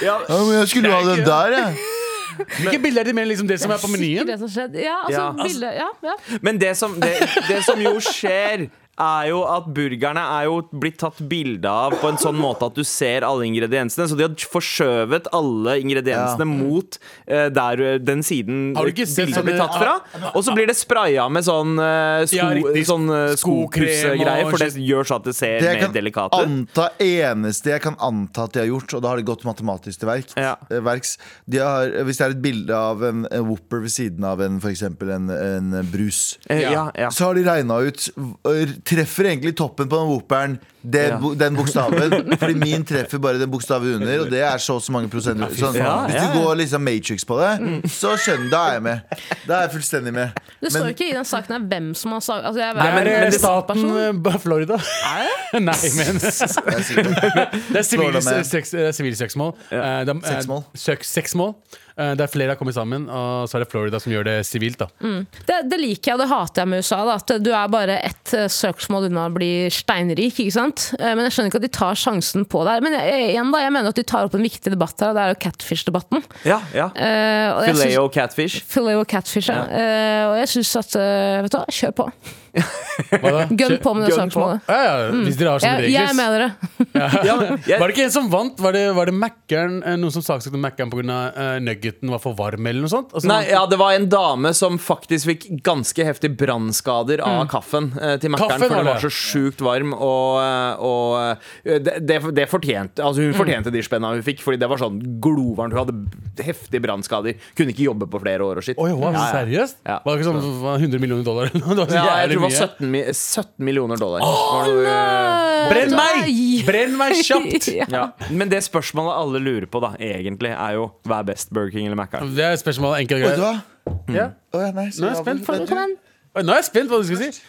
Ja.
Ja, men jeg skulle jo ha den der, jeg.
Hvilke bilder er det mer liksom det som er på menyen?
Det som skjedde. Ja, altså,
Ja.
bildet, ja, ja.
Men det som, det, det som jo skjer er jo at Burgerne er jo blitt tatt bilde av på en sånn måte at du ser alle ingrediensene. Så de har forskjøvet alle
Ja.
ingrediensene mot eh, der, eh, den siden eh,
Har du ikke sett
bildet
sånne-
blir tatt fra. Og så blir det spraya med sånn, eh, sko,
Ja, riktig.
sånn eh,
Skokrem og
skopussegreier, for det
shit.
gjør så at det ser
Det
mer
jeg kan
delikat ut.
anta eneste jeg kan anta at de har gjort, og da har de gått matematisk til verk,
Ja.
eh, verks de har, Hvis det er et bilde av en, en Whopper ved siden av en, for eksempel en, en brus,
Eh, Ja, ja.
så har de regna ut eh, Treffer egentlig toppen på den Whopperen den,
Ja.
bo- den bokstaven? [laughs] Fordi min treffer bare den bokstaven under, og det er så og så mange prosent. Sånn,
Ja,
hvis
ja,
du
ja.
går liksom Matrix på det, så skjønner Da er jeg med. Da er jeg
[laughs]
fullstendig med.
Det står jo ikke i den saken her hvem som har sagt altså, jeg,
Nei,
jeg-
men det er
jeg-
staten
person.
eh, ba- Florida. [laughs] Nei, men
jeg er sikker.
Det er sivil-
Florida med.
seks- det er sivilseksmål. Eh, de- eh,
Seksmål.
søk- Seksmål. Eh, Der flere har kommet sammen, og så er det Florida som gjør det sivilt. da
det, det liker jeg, og det hater jeg med USA. Da, at du er bare ett eh, søksmål unna å bli steinrik. ikke sant? Eh, Men jeg skjønner ikke at de tar sjansen på det. her. Men jeg, igjen da, jeg mener at de tar opp en viktig debatt her, og det er jo catfish-debatten.
ja, ja.
Eh, og jeg synes- [laughs]
Fileo catfish.
Filet og catfish, ja. Eh, og jeg syns at eh, Vet du hva, kjør på.
Hva [laughs] da?
Gønn på med det
Gønn på.
saksmålet.
Ja, Mm. ja, hvis dere har
Jeg,
sånne regler.
jeg er
[laughs]
med dere.
Ja, men jeg,
Var det ikke en som vant? Var det, var det Mackeren, eh, noen som saksøkte Mackeren pga. Uh, nuggeten var for varm? eller noe sånt? Og så-
Nei, ja, det var en dame som faktisk fikk ganske heftig brannskader av kaffen eh, til Mækkern.
Mm. Kaffen
For
var
den var så
det.
sjukt varm, og, eh, og eh, det, det, det fortjente Altså,
Mm.
hun fortjente de spenna hun fikk, fordi det var sånn glovarmt. Hun hadde heftige brannskader. Kunne ikke jobbe på flere år og shit.
Oi, wow,
Ja, ja.
Seriøst?
Ja.
Var det ikke sånn var det 100 millioner dollar? eller noe? Det var så
Ja, jeg
jævlig
tror det var
mye.
17, mi- 17 millioner dollar. Var det-
Brenn meg!
Nei.
Brenn meg
[laughs]
kjapt!
Ja.
ja. Men det spørsmålet alle lurer på, da, egentlig, er jo hva er best, Burger King eller Mækkern?
Det er spørsmålet enkelt og
Vet
greit.
du hva?
Ja.
Å, ja, nei, så
Nå er jeg
jeg
spent
avbryter
på det.
deg.
Oi, Nå er jeg spent på hva du skulle si.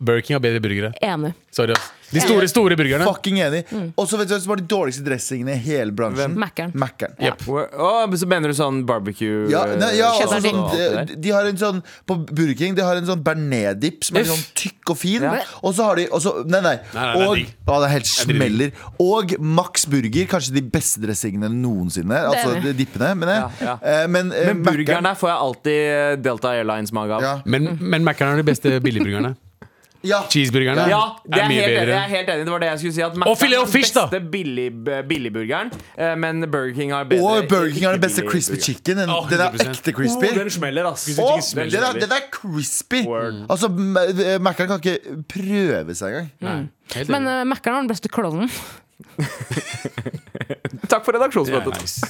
Burger King har bedre burgere.
Enig.
Sorry, ass. De store, store burgerne.
Fucking enig. Og så vet du hva som var de dårligste dressingene i hele bransjen?
Mackeren.
Mackeren.
Å, så mener du sånn barbecue
Ja,
eh,
nei, ja
kjøtt
også,
og
sånn,
alt det der?
de, de har en sånn På Burger King de har en sånn bearnés-dipp som er
Uff.
sånn tykk og fin.
Ja.
Og så har de og så- Nei, nei.
Nei, nei, det er
og,
digg.
ja, det er helt
er digg.
smeller. Og Max Burger, kanskje de beste dressingene noensinne. Altså
enig.
de dippene, mener jeg.
Ja,
Eh, Men, eh,
Men burgeren
Mackeren-
der får jeg alltid eh, Delta Airlines-mage av.
ja.
Men, men Mackeren er de beste billigburgerne.
ja.
Cheeseburgerne
Ja, det er,
er mye
helt, enig,
bedre.
jeg er helt enig. Det var det jeg skulle si. At Mac
Og filet og fish, da.
er den beste billig, billigburgeren, eh, men Burger King har bedre
Og Burger King har den beste
ikke-billig
crispy
burger.
chicken. Den,
Å,
den er
100%.
ekte crispy.
Å, den smeller, ass.
Å,
Den
den,
smeller.
er, den er crispy!
Word.
Altså, Ma- Mackeren kan ikke prøve seg engang.
Mm. Helt
Men
enig.
uh, Mækkern var den beste klovnen.
Takk for
Det er
redaksjonsmøtet.
nice.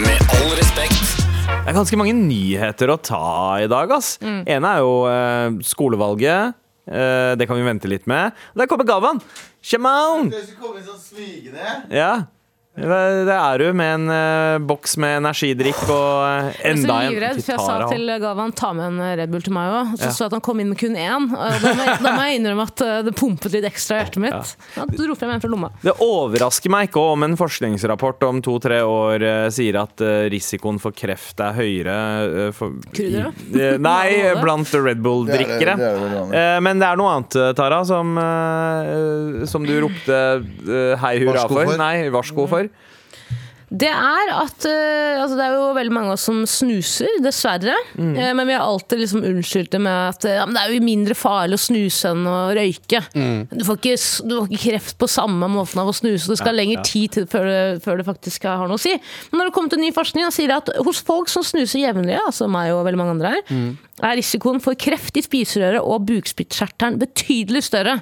Med all respekt.
Det er ganske mange nyheter å ta i dag, ass. En er jo eh, skolevalget. Eh, det kan vi vente litt med. Der kommer gaven! Shaman! Ja. Det det er du med en eh, boks med energidrikk og eh,
Jeg
enda
var så
en
livredd, for jeg sa
Titara.
til Gavan ta med en eh, Red Bull til meg òg. Så
Ja.
så jeg at han kom inn med kun én. Og da, må jeg, da må jeg innrømme at eh, det pumpet litt ekstra i hjertet mitt. Da dro frem en fra lomma.
Det overrasker meg ikke om en forskningsrapport om to-tre år eh, sier at eh, risikoen for kreft er høyere eh, for,
Krydderet? [laughs]
i- eh, nei, blant Red
Det er det-
Bull-drikkere.
det er det vanlige.
Eh, Men det er noe annet, eh, Tara, som, eh, eh, som du ropte eh, hei hurra for.
Varsko for.
Nei, varsko for.
Det er at eh, altså Det er jo veldig mange av oss som snuser, dessverre. Eh, men vi har alltid liksom unnskyldt det med at eh, ja, men det er jo mindre farlig å snuse enn å røyke. Du, får ikke, s- du får ikke kreft på samme måten av å snuse, og det skal lenger tid til før det, før det faktisk har noe å si. Men når det kommer til ny forskning, da sier det at hos folk som snuser jevnlig, ja, som meg og veldig mange andre her, er risikoen for kreft i spiserøret og bukspyttkjertelen betydelig større.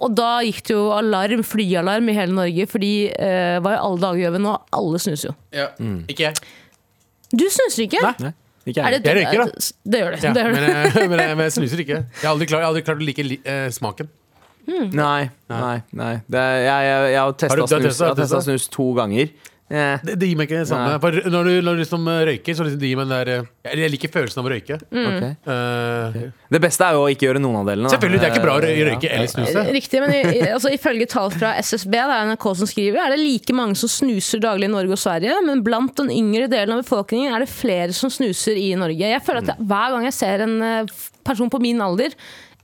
Og da gikk det jo alarm, flyalarm i hele Norge, fordi eh, hva i alle dager gjør vi nå? Alle snuser jo.
Ja. Ikke jeg.
Du snuser ikke?
Nei, ikke
Er
jeg.
det,
Jeg røyker, da.
Det gjør du.
Ja,
det gjør
men,
du.
eh, [laughs] men, jeg- men jeg snuser ikke. Jeg har aldri klart, jeg har aldri klart å like li, eh, smaken.
Nei, nei, nei. Det er, jeg, jeg, jeg har
Har du-
testa
du har testet,
snus, jeg har
har du
testet
testet?
snus to ganger. Eh,
Det, det gir meg ikke det samme.
Nei.
For når du, når du liksom eh, røyker, så liksom det gir meg den der eh, Jeg, jeg liker følelsen av å røyke.
Mm.
ok.
Eh,
Det beste er jo å ikke gjøre noen av delene. da.
Selvfølgelig, det er ikke bra å røy-
Eh,
røyke eller snuse.
Riktig, men i- i- altså, ifølge tall fra SSB, det er NRK som skriver, er det like mange som snuser daglig i Norge og Sverige, men blant den yngre delen av befolkningen er det flere som snuser i Norge. Jeg føler
Mm.
at jeg, hver gang jeg ser en eh, f- person på min alder,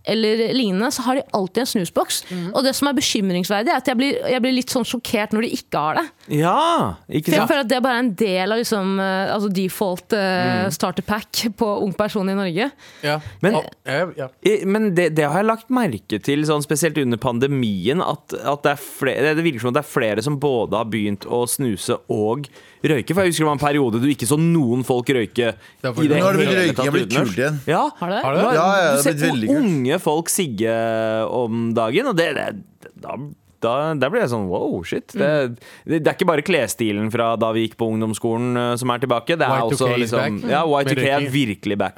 eller lignende, så har de alltid en snusboks.
Mm.
Og det som er bekymringsverdig, er at jeg blir, jeg blir litt sånn sjokkert når de ikke har det.
Ja, ikke
For jeg
sant?
føler at det er bare en del av liksom, eh, altså default
Mm.
eh, starter pack på ung person i Norge.
Ja.
Men-
Å, ja, ja.
I- Men det, det har jeg lagt merke til, sånn, spesielt under pandemien, at, at det, er flere, det virker som at det er flere som både har begynt å snuse og røyke. For jeg husker det var en periode du ikke så noen folk røyke.
Det er fordi-
i det
Nå har det
hele
blitt
tatt
røyking, har blitt
utenlands.
kult igjen.
Ja,
Har det?
Har du det?
Nå er-
Ja, ja, det
du
har
ser
blitt veldig kult.
unge folk sigge om dagen, og det, det da, da, der blir jeg sånn wow, shit. Det,
Mm.
det, det er ikke bare klesstilen fra da vi gikk på ungdomsskolen eh, som er tilbake. Det er
Y2K
også
is
liksom
back.
Ja, Y2K er
Med røyking.
virkelig back.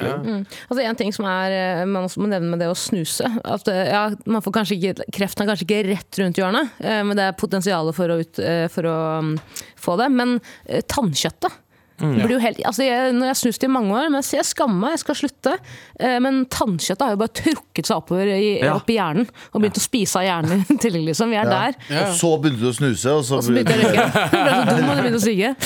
Altså En ting som er, eh, man også må nevne med det å snuse at, eh, ja, man får kanskje ikke, Kreften er kanskje ikke rett rundt hjørnet, eh, men det er potensialet for å, ut, eh, for å mm, få det. Men eh, tannkjøttet
Mm,
blir jo helt, altså jeg, Når jeg har snust i mange år, men jeg, sier, jeg skammer meg, jeg skal slutte. Eh, Men tannkjøttet har jo bare trukket seg oppover i,
Ja.
opp i hjernen og begynt å spise av hjernen i tillegg. liksom, Vi er der.
Og så begynte du å snuse, og så
Og så begynte jeg å røyke. [laughs] Jeg ble så dum og begynte å sigge.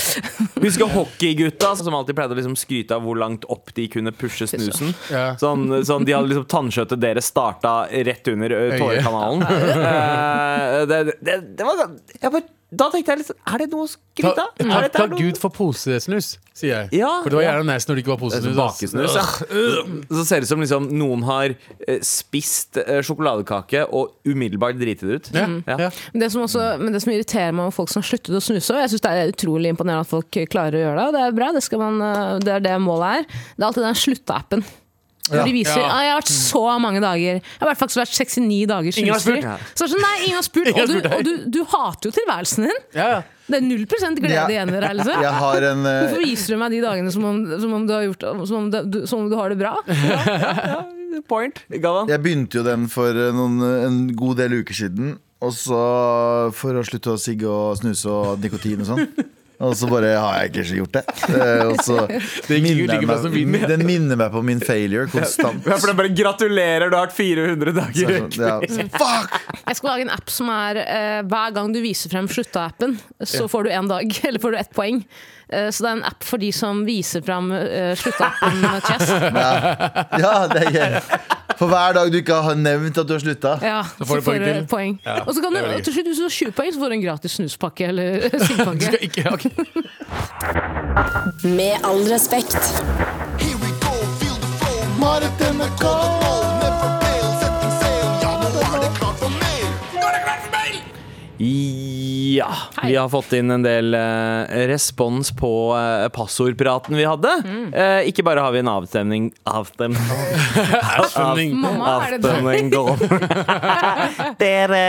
Husker hockeygutta som alltid pleide å liksom skryte av hvor langt opp de kunne pushe snusen.
Ja.
Sånn, sånn De hadde liksom tannkjøttet deres starta rett under Eh, ø,
Øyet. [laughs]
tårekanalen. Eh, det, det, det var Jeg bare Da tenkte jeg litt sånn, Er det noe å
Ta,
skryte av?
ta,
Er dette
ta
noe-
Gud for posesnus, sier jeg.
Ja,
for det var
ja.
gjerne nice når det ikke var posesnus. ass.
Bakesnus, ja. Så ser det ut som liksom noen har eh, spist eh, sjokoladekake og umiddelbart driti det ut. [laughs]
Ja,
Ja.
ja.
Men det, som også, men det som irriterer meg med folk som har sluttet å snuse, og jeg synes det er utrolig imponerende at folk klarer å gjøre det, og det er bra, det, skal man, eh, det er det målet er, det er alltid den slutta-appen. Hvor de viser
Ja.
ah, 'jeg har vært så mange dager'. Jeg har i hvert fall vært 69 dager
Ingen har
snusfri.
spurt.
Så det er sånn, nei, ingen har spurt.
Ingen har
Og, du,
spurt deg.
og du, du hater jo tilværelsen din.
Ja, ja.
Det er 0 glede
Ja.
igjen i deg. Liksom.
Jeg har en eh,
Hvorfor viser du meg de dagene som om, som om, du, har gjort, som om, du, som om du har det bra?
Point. Galvan.
Jeg begynte jo den for eh, noen, en god del uker siden. Og så for å slutte å sigge og snuse og nikotin og sånn. Og så bare har jeg ikke gjort det. Eh, Og så
gikk jo
minner
like bra som
jeg
min.
meg, den minner meg på min failure konstant.
Ja, for det er bare Gratulerer, du har vært 400
Så
dager.
jeg er sånn, ja, Fuck!
Jeg skal lage en app som er eh, Hver gang du viser frem slutta-appen, så får du en dag, [laughs] eller får du ett poeng. Eh, så det er en app for de som viser frem eh, slutta-appen
[laughs]
Chess.
Ja, det er gøy. For hver dag du ikke har nevnt at du har slutta.
Ja,
Så får du poeng til.
poeng.
Ja,
og så kan
det er
du,
veldig gøy.
til slutt, hvis du har 20 poeng, så får du en gratis snuspakke [laughs] eller
Du
sylpakke.
skal ikke ok.
[laughs]
Med all respekt.
Ja. Vi har fått inn en del eh, respons på eh, passordpraten vi hadde.
Mm.
Eh, ikke bare har vi en avstemning Avstem...
Avstemning.
Mamma, er det deg?
Avstemning går.
[laughs]
[laughs] Dere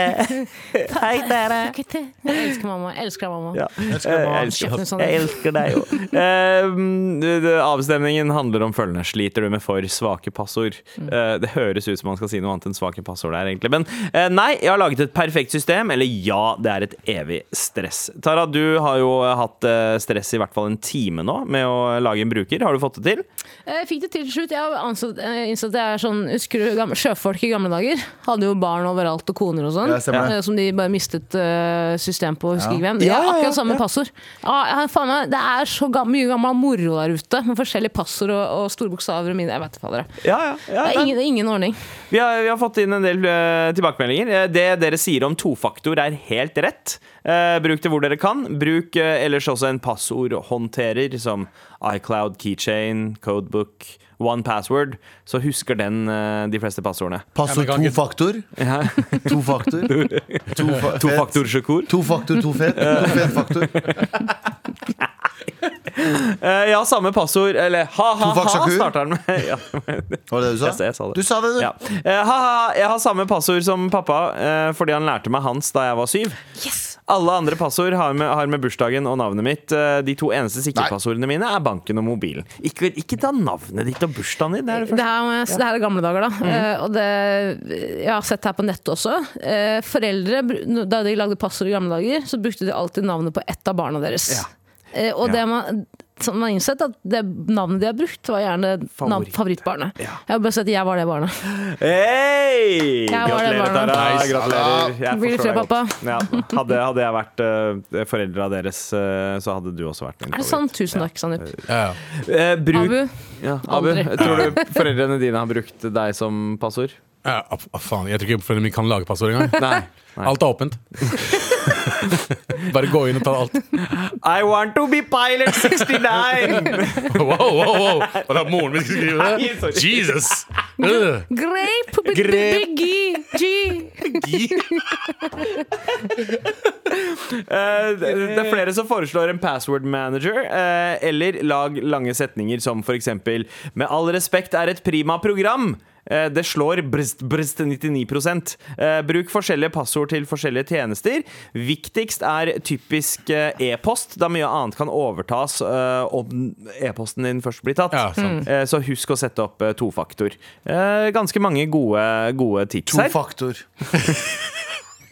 Hei, dere.
Jeg elsker mamma. Jeg elsker deg, mamma.
Ja. Eh,
mamma.
Jeg elsker,
Kjeften, Sander.
jeg elsker deg jo. Ehm, det- det- avstemningen handler om følgende. Sliter du med for svake passord?
Mm.
Eh, det høres ut som man skal si noe annet enn svake passord der, egentlig. Men eh, nei, jeg har laget et perfekt system. Eller ja, det er et evig stress. Tara, du har jo hatt eh, stress i hvert fall en time nå med å lage en bruker. Har du fått det til?
Jeg Eh, fikk det til til slutt. Jeg har ansatt, eh, innsett at jeg er sånn, Husker du gamle, sjøfolk i gamle dager? Hadde jo barn overalt og koner og sånn.
Ja, stemmer det.
eh, som de bare mistet eh, system på. Husker ikke hvem.
Ja,
Jeg har
ja, ja,
akkurat samme
ja.
passord. Ah, Ja, jeg har faen meg, det er så gam, mye gammel moro der ute, med forskjellige passord og, og store bokstaver og mine. Jeg vet ikke hva det er.
Ja,
Det er ingen, det er ingen ordning.
Vi har, vi har fått inn en del eh, tilbakemeldinger. Eh, Det dere sier om tofaktor, er helt rett. Eh, bruk det hvor dere kan. Bruk eh, ellers også en passordhåndterer som iCloud, Keychain, Codebook, One Password. Så husker den eh, de fleste passordene.
Passord
Ja, men kan
to
ikke-
faktor. [laughs] To
[laughs]
faktor. To, fa fet.
Tofaktor-sjekord.
to faktor, to fet. To fet faktor.
Eh, ja, samme passord. Eller ha-ha-ha,
Tofaktor-sjekord.
starter den med. [laughs] ja.
Var det det du sa?
Jeg sa- jeg sa det.
Du sa det, du.
Ja. Eh, ha-ha, jeg har samme passord som pappa eh, fordi han lærte meg hans da jeg var syv. Alle andre passord har med, har med bursdagen og navnet mitt. Eh, De to eneste sikre
Nei.
passordene mine er banken og mobilen. Ikke, ikke ta navnet ditt og bursdagen din. Det er det
Det
Mhm. første.
her, må jeg- det her er gamle dager, da. Eh, og det, jeg har sett det her på nettet også. Eh, foreldre, br- da de lagde passord i gamle dager, så brukte de alltid navnet på ett av barna deres. Eh, og
Ja.
det man, som man har innsett, at det navnet de har brukt, var gjerne navn,
Favoritt.
favorittbarnet. Jeg har bare sett at jeg var det barnet.
Hei!
var det
Gratulerer,
barna.
Tara.
Nice.
Gratulerer. Jeg
Blir det
forstår
flere,
deg godt. Ja. Hadde, hadde jeg vært uh, foreldra deres, eh, så hadde du også vært min
Er det sant? Tusen takk, Sandeep.
Ja, ja.
Eh, bruk,
Abu,
Ja, Abu,
Aldri.
tror du foreldrene dine har brukt deg som
[laughs]
passord?
Ja, ah, ah, faen, jeg tror ikke foreldrene mine kan lage passord engang.
Nei.
Alt er åpent. [laughs] Bare gå inn og ta alt. [laughs]
I want to be pilot 69!
Wow, wow, wow! Var det moren min som skulle
Nei,
skrive
sorry.
det? Jesus! Øh,
grape, b-
Grape.
b- Biggie, G.
gi.
Eh, det det er flere som foreslår en password manager, eh, eller lag lange setninger som for eksempel Med all respekt er et prima program. Eh, Det slår brst, brst 99 Eh, Bruk forskjellige passord til forskjellige tjenester. Viktigst er typisk eh, e-post, da mye annet kan overtas eh, om e-posten din først blir tatt.
Ja, sant.
Eh, Så husk å sette opp eh, tofaktor. Eh, Ganske mange gode, gode tips
To
her.
faktor.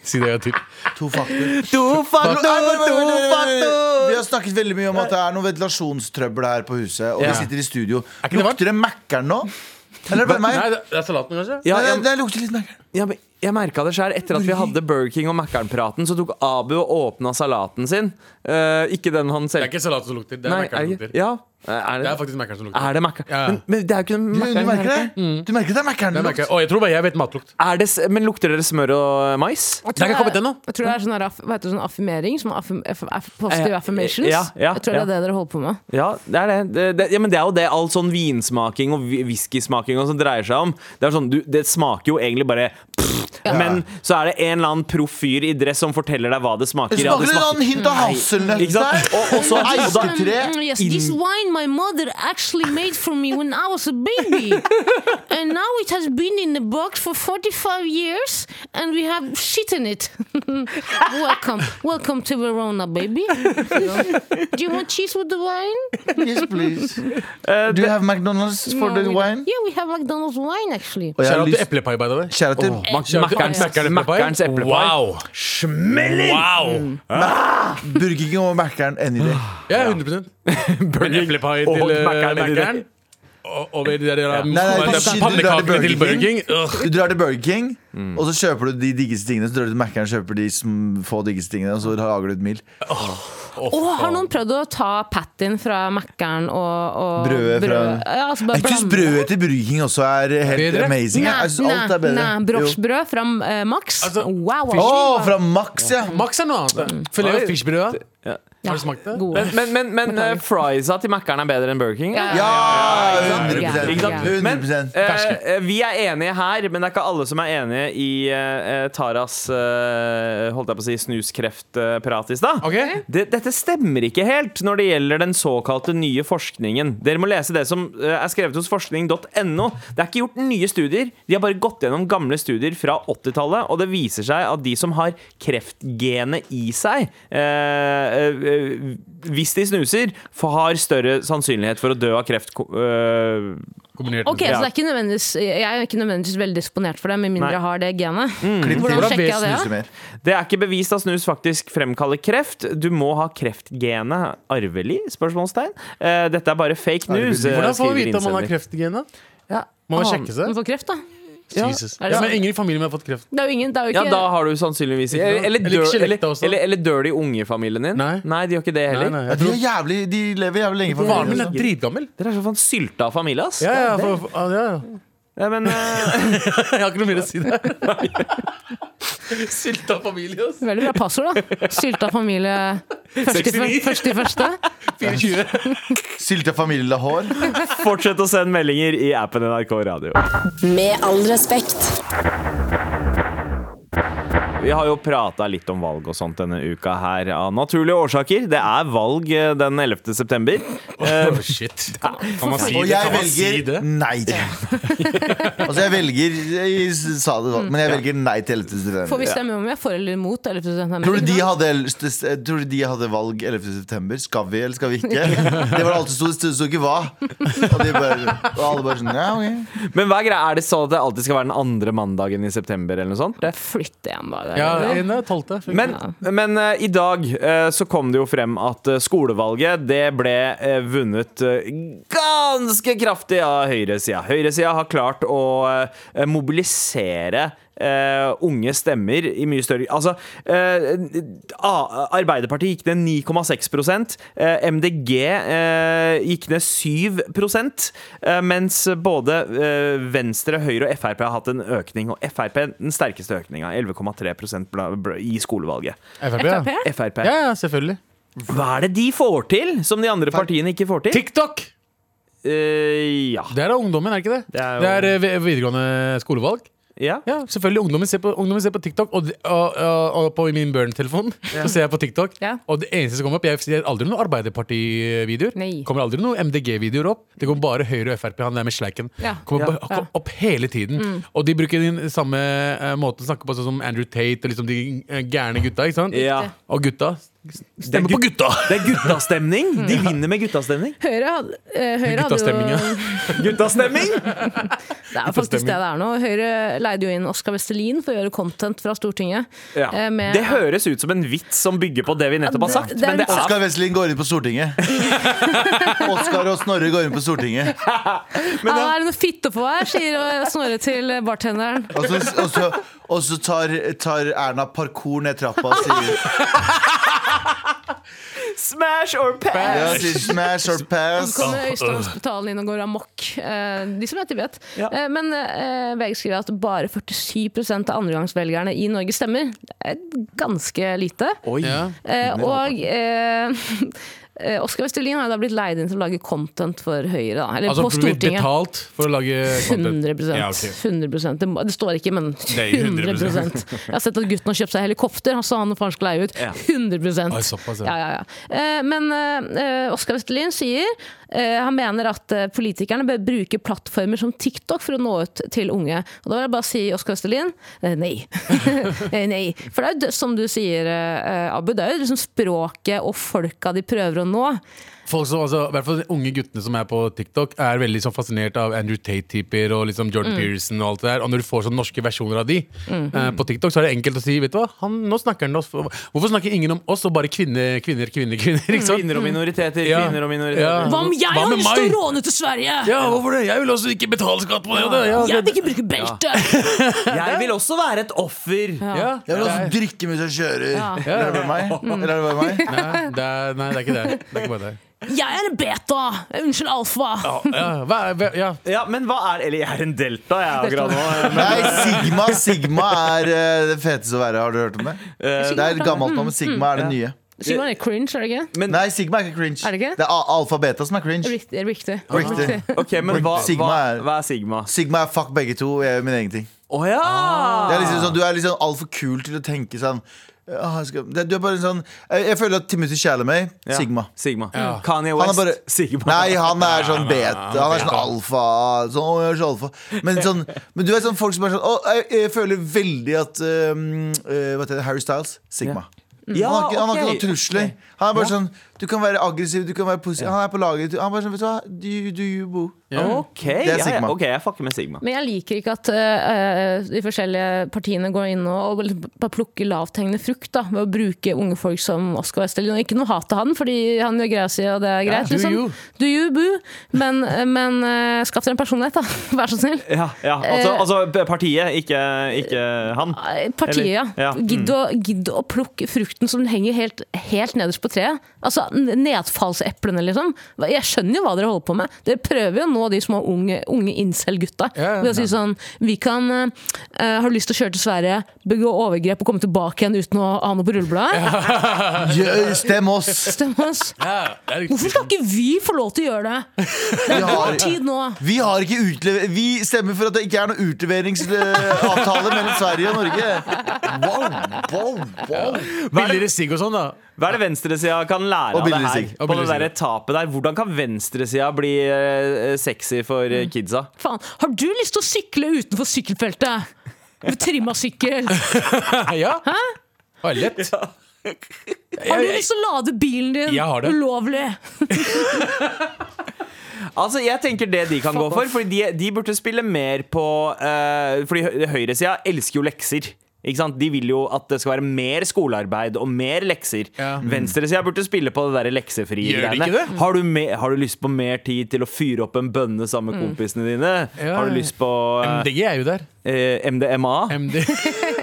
Si det en gang til.
To
[laughs]
faktor.
Tofaktor! Tofaktor!
Vi har snakket veldig mye om at det er noe ventilasjonstrøbbel her på huset. Og vi
Ja.
sitter i studio.
ikke det varmt?
Lukter det Mækkern nå? Eller er det bare meg?
Nei, det det er salaten, kanskje?
Ja,
Nei,
jeg-
det- det lukter litt Mækkern.
Ja, men jeg merka det sjøl. Etter at vi hadde Burger King og Mækkern-praten, så tok Abu og åpna salaten sin. Eh, ikke den han
Det er
selv
ikke salat som lukter. Det er
Nei,
makkeren som
er det ikke-
lukter.
Ja. Er
Det
det,
er faktisk Mækkern som lukter.
er det Mac?
Ja.
Men, men det er jo ikke
Du,
Mac-en
du merker
her.
det? Du merker det er Mækkern?
Det er Mækkern. Å, jeg tror bare jeg vet matlukt.
Er det, s- men lukter dere smør og mais?
Jeg
Det er ikke kommet ennå.
jeg tror det er sånn, her, aff- hva heter det, sånn affirmering. Som affirm, aff, aff, positive
Eh,
affirmations.
ja, ja,
jeg tror det
ja.
er det dere holder på med.
Ja, det er det. det, det ja, men det er jo det all sånn vinsmaking og vi- whiskysmaking og sånn dreier seg om. Det, er sånn, du, det smaker jo egentlig bare pff, Men så er det en eller annen proff fyr i dress som forteller deg hva det smaker.
Det
Ja, det
smaker litt
smaker-
sånn hint av hasselnøtt
Ikke sant?
der.
Og, og så, og da,
Tre.
Mm, yes, this
Inn-
wine my mother actually made for me when I was a
[laughs]
baby. and now it has been in the box for 45 years, and we have shit in it. [laughs] welcome, welcome to Verona, baby. You know. Do you want cheese with the wine?
Yes, please.
Eh,
Do you have McDonald's for the
we-
wine?
Yeah, we have McDonald's wine actually.
Og jeg
Kjære
har
til
lyst
eplepai, by the way.
Kjære til
Shout out til
Mackerns-
Mackerns eplepai.
Mackerns Eh, eplepai. [laughs]
Wow! Smeller! Wow.
Burger King og Mækkern any day.
Ja, 100 Men eplepai
og
til eh,
Macker'n i det.
Macker'n og- Over de der, der,
Nei, nei,
der-
du sier du drar til
pannekakene
Burger
til Burger King.
King.
Ugh.
Du drar til Burger King, og så kjøper du de diggeste tingene. Så drar du til Mækkern og kjøper de sm- få diggeste tingene, og så lager du et mil.
Og har noen prøvd å ta pattien fra Mækkern og, og
Brødet fra-
Ja, altså bare
Jeg syns
blande.
brødet til Burger King også er helt
Bedre?
amazing.
Nei,
jeg. Jeg synes alt
nei,
er bedre.
nei,
Jo.
briochebrød fra eh, Max.
Altså,
wow,
Å,
wow.
fra Max, ja!
Max er noe annet. Filet og
Oi.
fiskbrød.
Ja.
Har du smakt det?
Gode.
Men, men, men, men eh, friesa til Mac'eren er bedre enn Burger King?
Ja,
Ja!
Ikke
100
sant?
100
Eh, eh, vi er enige her, men det er ikke alle som er enige i eh, eh, Taras eh, holdt jeg på å si snuskreftprat i stad.
Ok.
Det, dette stemmer ikke helt når det gjelder den såkalte nye forskningen. Dere må lese det som eh, er skrevet hos forskning.no. Det er ikke gjort nye studier, de har bare gått gjennom gamle studier fra 80-tallet, og det viser seg at de som har kreftgenet i seg, eh, eh, hvis de snuser, får- har større sannsynlighet for å dø av kreft. ko- eh,
Kombinert
Ok,
med
så det er ikke nødvendigvis, Jeg er ikke nødvendigvis veldig disponert for det, med mindre
Nei. Mm.
jeg har det genet. eh, Hvordan
Hvordan
sjekker jeg det?
Snuser mer.
Det er ikke bevist at snus faktisk fremkaller kreft. Du må ha kreftgenet arvelig? spørsmålstegn. Eh, Dette er bare fake news. eh,
Hvordan får vi
skriver
vite om man har
innsender.
kreft i genet?
Ja,
Må man
ah,
sjekke
Du
seg?
får kreft, da.
ja.
Jesus.
Er det
Ja, men
sant?
ingen i familien min har fått kreft.
Det er jo ingen, det er jo
Ja,
ikke
da har du sannsynligvis ikke Eller, eller,
Eller ikke
dør, eller,
skjelettet også.
eller, eller dør de unge i familien din?
Nei.
de gjør ikke det
Nei,
heller.
nei,
Ja,
jeg
de,
tror
er jævlig, de lever jævlig lenge. for
Faren min
familien,
er
altså.
dritgammel.
Dere er så faen sylta av familie, ass.
Ja, ja, for, for- ja, ja.
Ja, men,
[laughs]
eh, [laughs]
Jeg har ikke noe mer å si der. [laughs] Sylta familie, ass.
Veldig bra passord, da. Sylta familie først i, fyr-
69.
først i første.
24.
Sylta familie hår.
fortsett å sende meldinger i appen NRK Radio.
Med all respekt.
Vi har jo prata litt om valg og sånt denne uka her, av naturlige årsaker. Det er valg eh, den 11. september. Eh,
Oh, shit. Kan man si
Og
det?
jeg
Kan man si
velger
det?
nei. altså, jeg velger Jeg sa det sånn, men jeg velger nei til 11.
Får
september.
vi stemme om vi er for eller imot? Eller
Tror du, de hadde, el- st- st- tror du de hadde valg 11. september? Skal vi, eller skal vi ikke?
[laughs]
Det var alt det sto, det sto ikke hva. Og, de bare, og alle bare sånn ja, ok.
Men hva er greia? Er det sånn at det alltid skal være den andre mandagen i september? eller noe sånt? Det.
Flytt igjen, da. Det er-
Ja, en er tolvte.
Men, men eh, i dag eh, så kom det jo frem at eh, skolevalget det ble eh, vunnet eh, ganske kraftig av høyresida. Høyresida har klart å eh, mobilisere eh, unge stemmer i mye større Altså, eh, A- Arbeiderpartiet gikk ned 9,6 eh, MDG eh, gikk ned 7 eh, mens både eh, Venstre, Høyre og Frp har hatt en økning. Og Frp den sterkeste økninga, 11,3 bla- bla- i skolevalget.
FrP, ja.
Frp?
Frp.
Ja, ja, selvfølgelig.
Hva er det de får til, som de andre partiene ikke får til?
TikTok!
Eh, ja.
Det er da ungdommen, er det ikke det?
Det er jo-
Det er, eh, vi- videregående skolevalg.
ja.
Ja, selvfølgelig. Ungdommen ser på, ungdommen ser på TikTok, og, de- og, og, og på min Burn-telefon [laughs] så ser jeg på TikTok.
Ja.
Og det eneste som kommer opp, jeg ser aldri noen Arbeiderparti-videoer.
Nei.
Kommer aldri noen MDG-videoer opp. Det går bare Høyre og Frp, han der med sleiken.
Ja. Mm.
Kommer
Ja.
opp, kom opp hele tiden. Og de bruker den samme eh, måten å snakke på, sånn som Andrew Tate og liksom de eh, gærne gutta. ikke sant?
Ja.
Og gutta. Stemmer
Det er
på gutta!
Det er guttastemning! De vinner med
[laughs]
guttastemning.
Høyre hadde, eh, Høyre hadde jo
Guttastemninga.
Guttastemning!
Det er jo faktisk det det er nå. Høyre leide jo inn Oskar Vestelin for å gjøre content fra Stortinget.
Ja.
eh, med-
Det høres ut som en vits som bygger på det vi nettopp har
Ja,
sagt.
det- det er
Men det
en-
er
Oskar Wesselin går inn på Stortinget. Oskar og Snorre går inn på Stortinget.
Ja, Ah, er det noe fitte på her, sier eh, Snorre til bartenderen.
Og så, og så, og så tar, tar Erna parkour ned trappa og sier
smash or
Ja,
pass!
sier smash or
Så
pass.
kommer Øystein-hospitalen inn og går amok. Eh, de som er i Tibet.
Ja.
Eh, men eh, VG skriver at bare 47 av andregangsvelgerne i Norge stemmer. Det er ganske lite.
Oi.
Ja.
Eh, og [laughs] eh, Oskar Vestelin har jo da blitt leid inn til å lage content for Høyre. Da, eller
Altså
på
blitt
Stortinget.
betalt for å lage content.
100,
Ja, ok.
100%. Det, må- det står ikke, men
er
100,
100%.
Jeg har sett at gutten har kjøpt seg helikopter, så han og faren skal leie ut.
Ja.
100
Oi, såpass, ja.
ja, ja, ja. Eh, Men eh, Oskar Vestelin sier eh, han mener at eh, politikerne bør bruke plattformer som TikTok for å nå ut til unge. Og Da vil jeg bare si Oskar Vestelin eh, nei. [laughs] Eh, nei. For det er jo det- som du sier, eh, eh, Abu, det er jo liksom språket og folka de prøver å nå.
Folk som, altså, i hvert fall de unge guttene som er på TikTok, er veldig sånn fascinert av Andrew Tate-typer og liksom
Mm.
Jordan Pearson. Og alt det der Og når du får sånn norske versjoner av de
Mm-hmm.
eh, på TikTok, så er det enkelt å si Vet du hva, han, nå snakker han om oss Hvorfor snakker ingen om oss og bare kvinner, kvinner, kvinner? kvinner ikke
Mm.
sant?
Kvinner og minoriteter,
Ja.
kvinner og
Ja.
minoriteter.
Hva om jeg
Hva
har
med
lyst til
meg?
å råne til Sverige?
Ja, hvorfor det? Jeg vil også ikke betale skatt på det! og det. Ja,
Jeg
det,
vil ikke bruke belte!
Jeg vil også være et offer!
ja,
Jeg vil
det
også
er-
drikke mens jeg kjører. Eller er det bare meg? Eller er det bare meg?
Nei, det er, nei, det er ikke det. Det er ikke bare det.
Jeg er en beta! Unnskyld, alfa!
Ja,
eh,
ja, hva, er- hva,
[laughs]
ja.
Ja, men hva er Eller jeg er en delta, jeg er akkurat nå. Men,
Nei, Sigma Sigma er eh, det feteste å være. Har du hørt om det?
Eh,
Det er et gammelt navn, men Sigma er det nye.
Sigmund er cringe, er det ikke?
Men-
Nei, Sigma er ikke cringe.
Er det ikke?
Det er a- alfa beta som er cringe.
Riktig. Riktig.
Riktig.
Ok, men hva, hva,
Sigma er-
hva er Sigma?
Sigma er fuck begge to, og jeg gjør min egen ting.
Å ja!
Det er liksom
Ah.
sånn, du er liksom altfor kul til å tenke sånn «Åh, jeg skal, det, Du er bare en sånn Jeg, jeg føler at Timothy Chalamet,
Ja,
Sigma.
Sigma. Kanye
Han
West,
er bare
Sigma.
Nei, han er sånn bet. Han er sånn alfa. Sånn, å, jeg er så alfa. Men, sånn, men du er sånn folk som er sånn Å, jeg, jeg føler veldig at um, eh, Hva heter det? Harry Styles. Sigma.
Ja,
han, har ikke, han har ikke
ok.
noen trusler. Han er bare sånn Du kan være aggressiv, du kan være positiv. Han er på laget. Han er bare sånn Vet du hva, do you, do you boo?
Ok,
Mm. Det er
ja, ja,
Sigma.
ok, jeg fucker med Sigma.
Men jeg liker ikke at eh, eh, de forskjellige partiene går inn og, og bare plukker lavthengende frukt da, ved å bruke unge folk som Oskar Vestelin. Og ikke noe hat til han, fordi han gjør greia si, og det er greit.
do
liksom.
you.
Do you, boo. Men, eh, men eh, skaff dere en personlighet, da. [laughs] Vær så snill.
Ja, ja. Altså, altså partiet, ikke, ikke han.
Eh, Partiet, ja.
Eller- ja, mm.
Gidd, å, gidd å plukke frukten som henger helt, helt nederst på treet. Altså n- nedfallseplene, liksom. Hva- Jeg skjønner jo hva dere holder på med. Dere prøver jo å nå de små unge, unge incel-gutta.
Ja, ja.
Ved å si sånn Vi kan eh, eh, Har du lyst til å kjøre til Sverige, begå overgrep og komme tilbake igjen uten å ha noe på [laughs] rullebladet?
Jø, Stem oss!
Stem oss.
Ja, det er
Hvorfor
riktig.
skal ikke vi få lov til å gjøre det?
Vi har,
Vår tid nå.
vi har ikke utlever... Vi stemmer for at det ikke er noen utleveringsavtale mellom Sverige og Norge. Wow, wow, wow.
Billigere sigg og sånn, da.
Hva er det venstresida kan lære
Og
av det
billig
her?
sigg.
Og
På det
billig sigg,
der tapet der Hvordan kan venstresida bli eh, sexy for
Mm.
eh, kidsa?
Faen. Har du lyst til å sykle utenfor sykkelfeltet? Med Trimma
[laughs]
sykkel.
Nei, Ja. Var lett.
Har du lyst til å lade bilen din
Jeg har det.
ulovlig?
Altså, jeg tenker det de kan gå for, Fordi de, de burde spille mer på eh, Fordi hø- høyresida elsker jo lekser. Ikke sant? De vil jo at det skal være mer skolearbeid og mer lekser.
Ja. Mm.
Venstresida burde spille på det der leksefrie
Gjør de
greiene.
ikke det?
Har, du me har du lyst på mer tid til å fyre opp en bønne sammen med kompisene dine?
Mm. Ja.
Har du lyst på eh,
MDG er jo der.
eh, MDMA?
MD.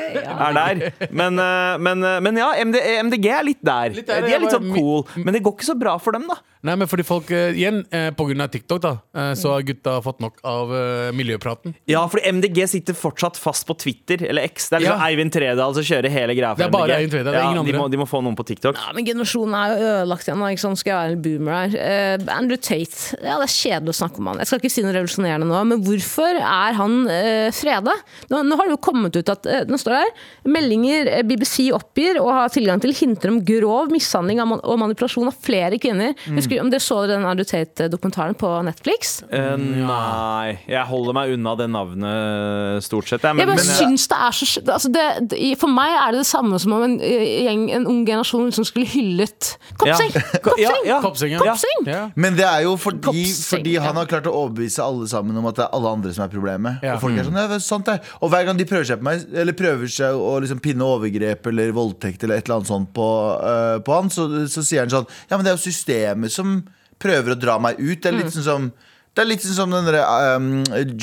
er der. Men, eh, men, eh, men ja, MD, MDG er litt der.
Litt der,
De
ja,
er litt sånn
bare-
cool, men det går ikke så bra for dem, da.
[laughs] Nei, men fordi folk, eh, igjen, eh, på grunn av TikTok, da, eh, så har gutta fått nok av eh, miljøpraten.
Ja, fordi MDG sitter fortsatt fast på Twitter eller X. Det er liksom
Ja.
Eivind Tredal som kjører hele greia for
Det er bare
MDG.
Eivind Tredal, det er
ja,
ingen
de,
andre.
må, de må få noen på TikTok.
Ja, men generasjonen er jo ødelagt igjen. da, Ikke sant? Skal jeg være en boomer her? Eh, Andrew Tate, ja det er kjedelig å snakke om han. Jeg skal ikke si noe revolusjonerende nå, men hvorfor er han uh, freda? Nå, nå har det jo kommet ut at eh, Nå står det her meldinger eh, BBC oppgir og har tilgang til hinter om grov mishandling av man- og manipulasjon av flere kvinner. Husker, om dere så den Andrew Tate-dokumentaren på Netflix?
Eh, nei, jeg holder meg unna det navnet eh, stort sett. Jeg, men, eh,
Jeg bare
men,
syns det er så sj- altså det, det, i- For meg er det det samme som om en, eh, gjeng, en ung generasjon som skulle hyllet Kopsing! Kopsing!
Ja, [laughs] ja.
Koppsing, ja.
Koppsing?
Ja.
Men det er jo fordi,
Kopsing,
fordi han
ja.
har klart å overbevise alle sammen om at det er alle andre som er problemet.
Ja.
Og folk er sånn, ja, det er sant det Og hver gang de prøver seg på meg Eller prøver seg å liksom pinne overgrep eller voldtekt eller et eller annet sånt på, øh, på han, så, så sier han sånn Ja, men det er jo systemet som prøver å dra meg ut. Det er litt sånn som Det er litt
Mm.
sånn som den derre øhm,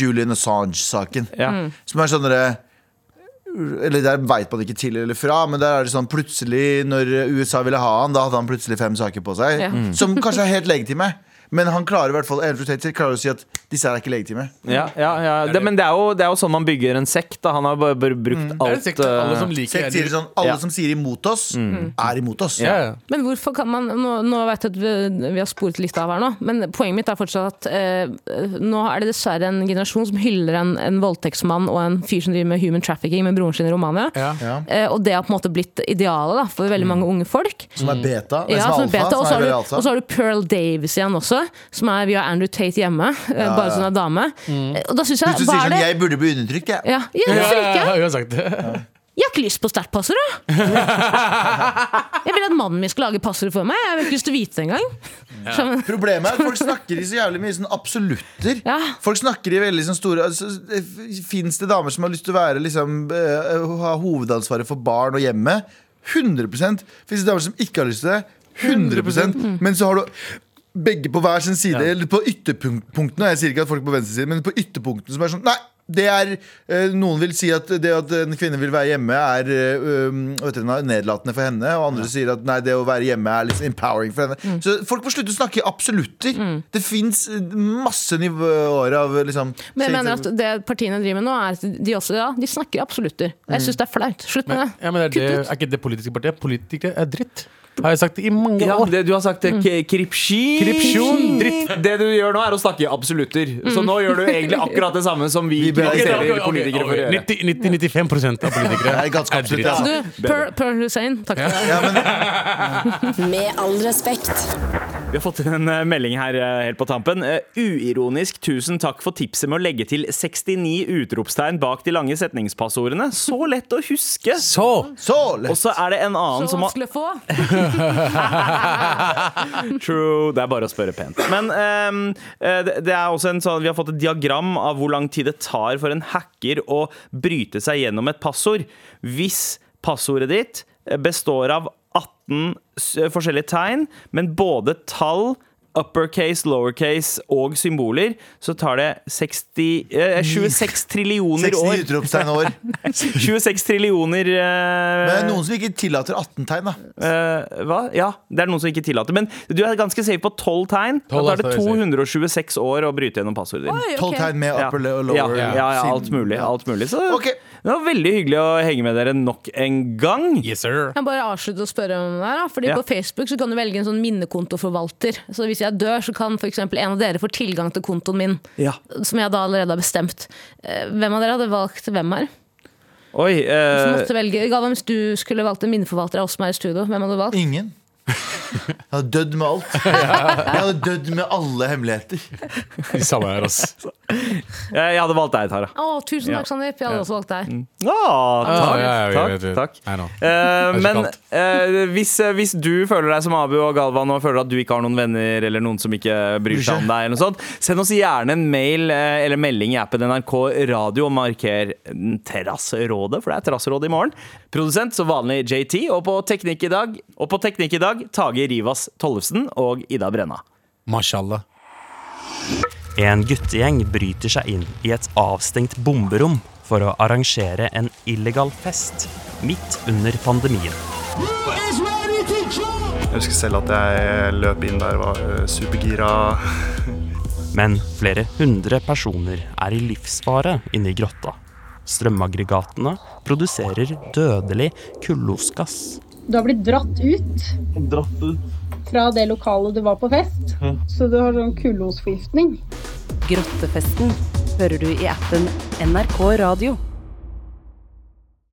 Julian Assange-saken.
ja.
Som er sånn derre Eller der veit man ikke til eller fra, men der er det sånn plutselig, når USA ville ha han, da hadde han plutselig fem saker på seg.
Ja. Mm.
Som kanskje er helt legitime. Men han klarer i hvert fall Andrew Tate klarer å si at disse her er ikke legitime.
Ja, ja, ja. Det, men det er, jo, det er jo sånn man bygger en sekt. Da. Han har bare bare brukt
Er Mm. det
alt
sikkert alle
eh,
som liker
Sekt sier
Eddie?
sånn, Alle
Ja.
som sier imot oss, er imot oss.
Ja, ja.
Men hvorfor kan man Nå, nå vet jeg at vi, vi har sporet litt av her nå, men poenget mitt er fortsatt at eh, nå er det dessverre en generasjon som hyller en, en voldtektsmann og en fyr som driver med human trafficking med broren sin i Romania.
Ja.
Ja.
Eh, og det har på en måte blitt idealet da, for veldig mange unge folk.
Som er beta. nei,
Ja,
som
som
er alfa.
beta, og, så
Som
har du,
er veldig
og så
alfa.
har du Pearl Davis igjen også, som er via Andrew Tate hjemme, eh, bare som er dame. Eh, Og da synes
Mm. Hvis du
jeg, hva
sier
er
sånn
det?
Jeg burde bli undertrykt, jeg.
Ja, ja,
Ja,
hvorfor
ja, ja,
ikke?
hun har sagt det.
Jeg har ikke lyst på sterkt passord, da! Jeg vil at mannen min skal lage passord for meg. Jeg har ikke lyst til å vite det engang. Skjønner du?
Problemet er at folk snakker i så jævlig mye sånn absolutter.
Ja.
Folk snakker i veldig sånn store altså, Fins det damer som har lyst til å være liksom, eh, ha hovedansvaret for barn og hjemmet? 100 Fins det damer som ikke har lyst til det? 100 Men så har du begge på hver sin side, eller på ytterpunktene. Jeg sier ikke at folk på venstre side, men på ytterpunktene som er sånn Nei! Det er, eh, Noen vil si at det at en kvinne vil være hjemme, er eh, um, vet dere, nedlatende for henne. Og andre sier at nei, det å være hjemme er liksom empowering for henne.
Mm.
Så folk må slutte å snakke i absolutter. Det fins masse nivåer av liksom
Men jeg mener at det partiene driver med nå, er at de også ja, de snakker i absolutter. Jeg syns det er flaut. Slutt med
Men,
det.
ja, men er, det,
Kutt ut.
er ikke det politiske partiet? Politikere er dritt. Har jeg sagt det i mange
ja,
år.
det du har sagt mm. Kripsjon
Kripsjon,
Dritt Det du gjør nå er å snakke i absolutter Så nå gjør du egentlig akkurat det samme som vi
ber-
Ok,
kritiserer
ok, ok,
politikere for å
ok.
gjøre
90 90-95 av politikere
Det er ganske
dritt.
absolutt. Ja.
Du, Per, per Hussein, takk for det.
Ja, men,
Med all respekt.
Vi har fått en eh, melding her eh, helt på tampen. Eh, Uironisk tusen takk for tipset med å legge til 69 utropstegn bak de lange setningspassordene. Så lett å huske!
Så!
så
Og
lett.
så er det en annen
Så
som har
vanskelig å få.
[laughs] True. Det er bare å spørre pent. Men ehm, eh, det det er også en sånn Vi har fått et diagram av hvor lang tid det tar for en hacker å bryte seg gjennom et passord. Hvis passordet ditt eh, består av 18 s- eh, forskjellige tegn, men både tall Uppercase, lowercase og symboler, så tar det 60, eh, 26 trillioner
69
år. [laughs]
utropstegn år.
26 trillioner eh,
Men det er noen som ikke tillater 18 tegn, da.
Eh, hva? Ja, det er noen som ikke tillater. Men du er ganske safe på 12 tegn. Da
12 er
tar det
safe.
226 år å bryte gjennom passordet ditt.
Oi, ok.
12 tegn med
Ja.
upper og
ja,
lower.
ja, ja, alt
siden.
mulig. Alt mulig. Så
Ok.
det var veldig hyggelig å henge med dere nok en gang.
Yes, sir.
Jeg må bare avslutte å spørre om det her. da. Fordi
Ja.
På Facebook så kan du velge en sånn minnekontoforvalter. Så hvis jeg dør, så kan f.eks. en av dere få tilgang til kontoen min.
Ja.
Som jeg da allerede har bestemt. Eh, Hvem av dere hadde valgt hvem her?
Oi.
Som
eh,
måtte velge. Galvan, hvis du skulle valgt en minneforvalter av oss som er i studio, hvem hadde du valgt?
[laughs]
Ingen. Jeg hadde dødd med alt. Jeg hadde dødd med alle hemmeligheter.
De samme her, ass.
jeg hadde valgt deg, Tara.
Å, tusen takk, Sandeep. Jeg hadde også valgt deg.
Ah, takk,
ja, ja, ja,
takk,
ja, ja.
takk.
I know.
Eh,
Det er så
men
kaldt.
eh, hvis, eh, hvis du føler deg som Abu og Galvan og føler at du ikke har noen venner eller noen som ikke bryr seg om deg, eller noe sånt, send oss gjerne en mail eh, eller melding i appen NRK Radio og marker mm, Terrasserådet, for det er Terrasserådet i morgen. Produsent som vanlig JT, og på Teknikk i dag, og på teknikk i dag Tage Rivas Tollefsen og Ida Brenna.
Mashallah.
En guttegjeng bryter seg inn i et avstengt bomberom for å arrangere en illegal fest midt under pandemien.
Jeg husker selv at jeg løp inn der og var eh, supergira.
Men flere hundre personer er i livsfare inne i grotta. Strømaggregatene produserer dødelig kullosgass.
Du har blitt dratt ut. Fra det lokalet du var på fest. Så du har sånn kullosforgiftning.
Grottefesten hører du i appen NRK Radio.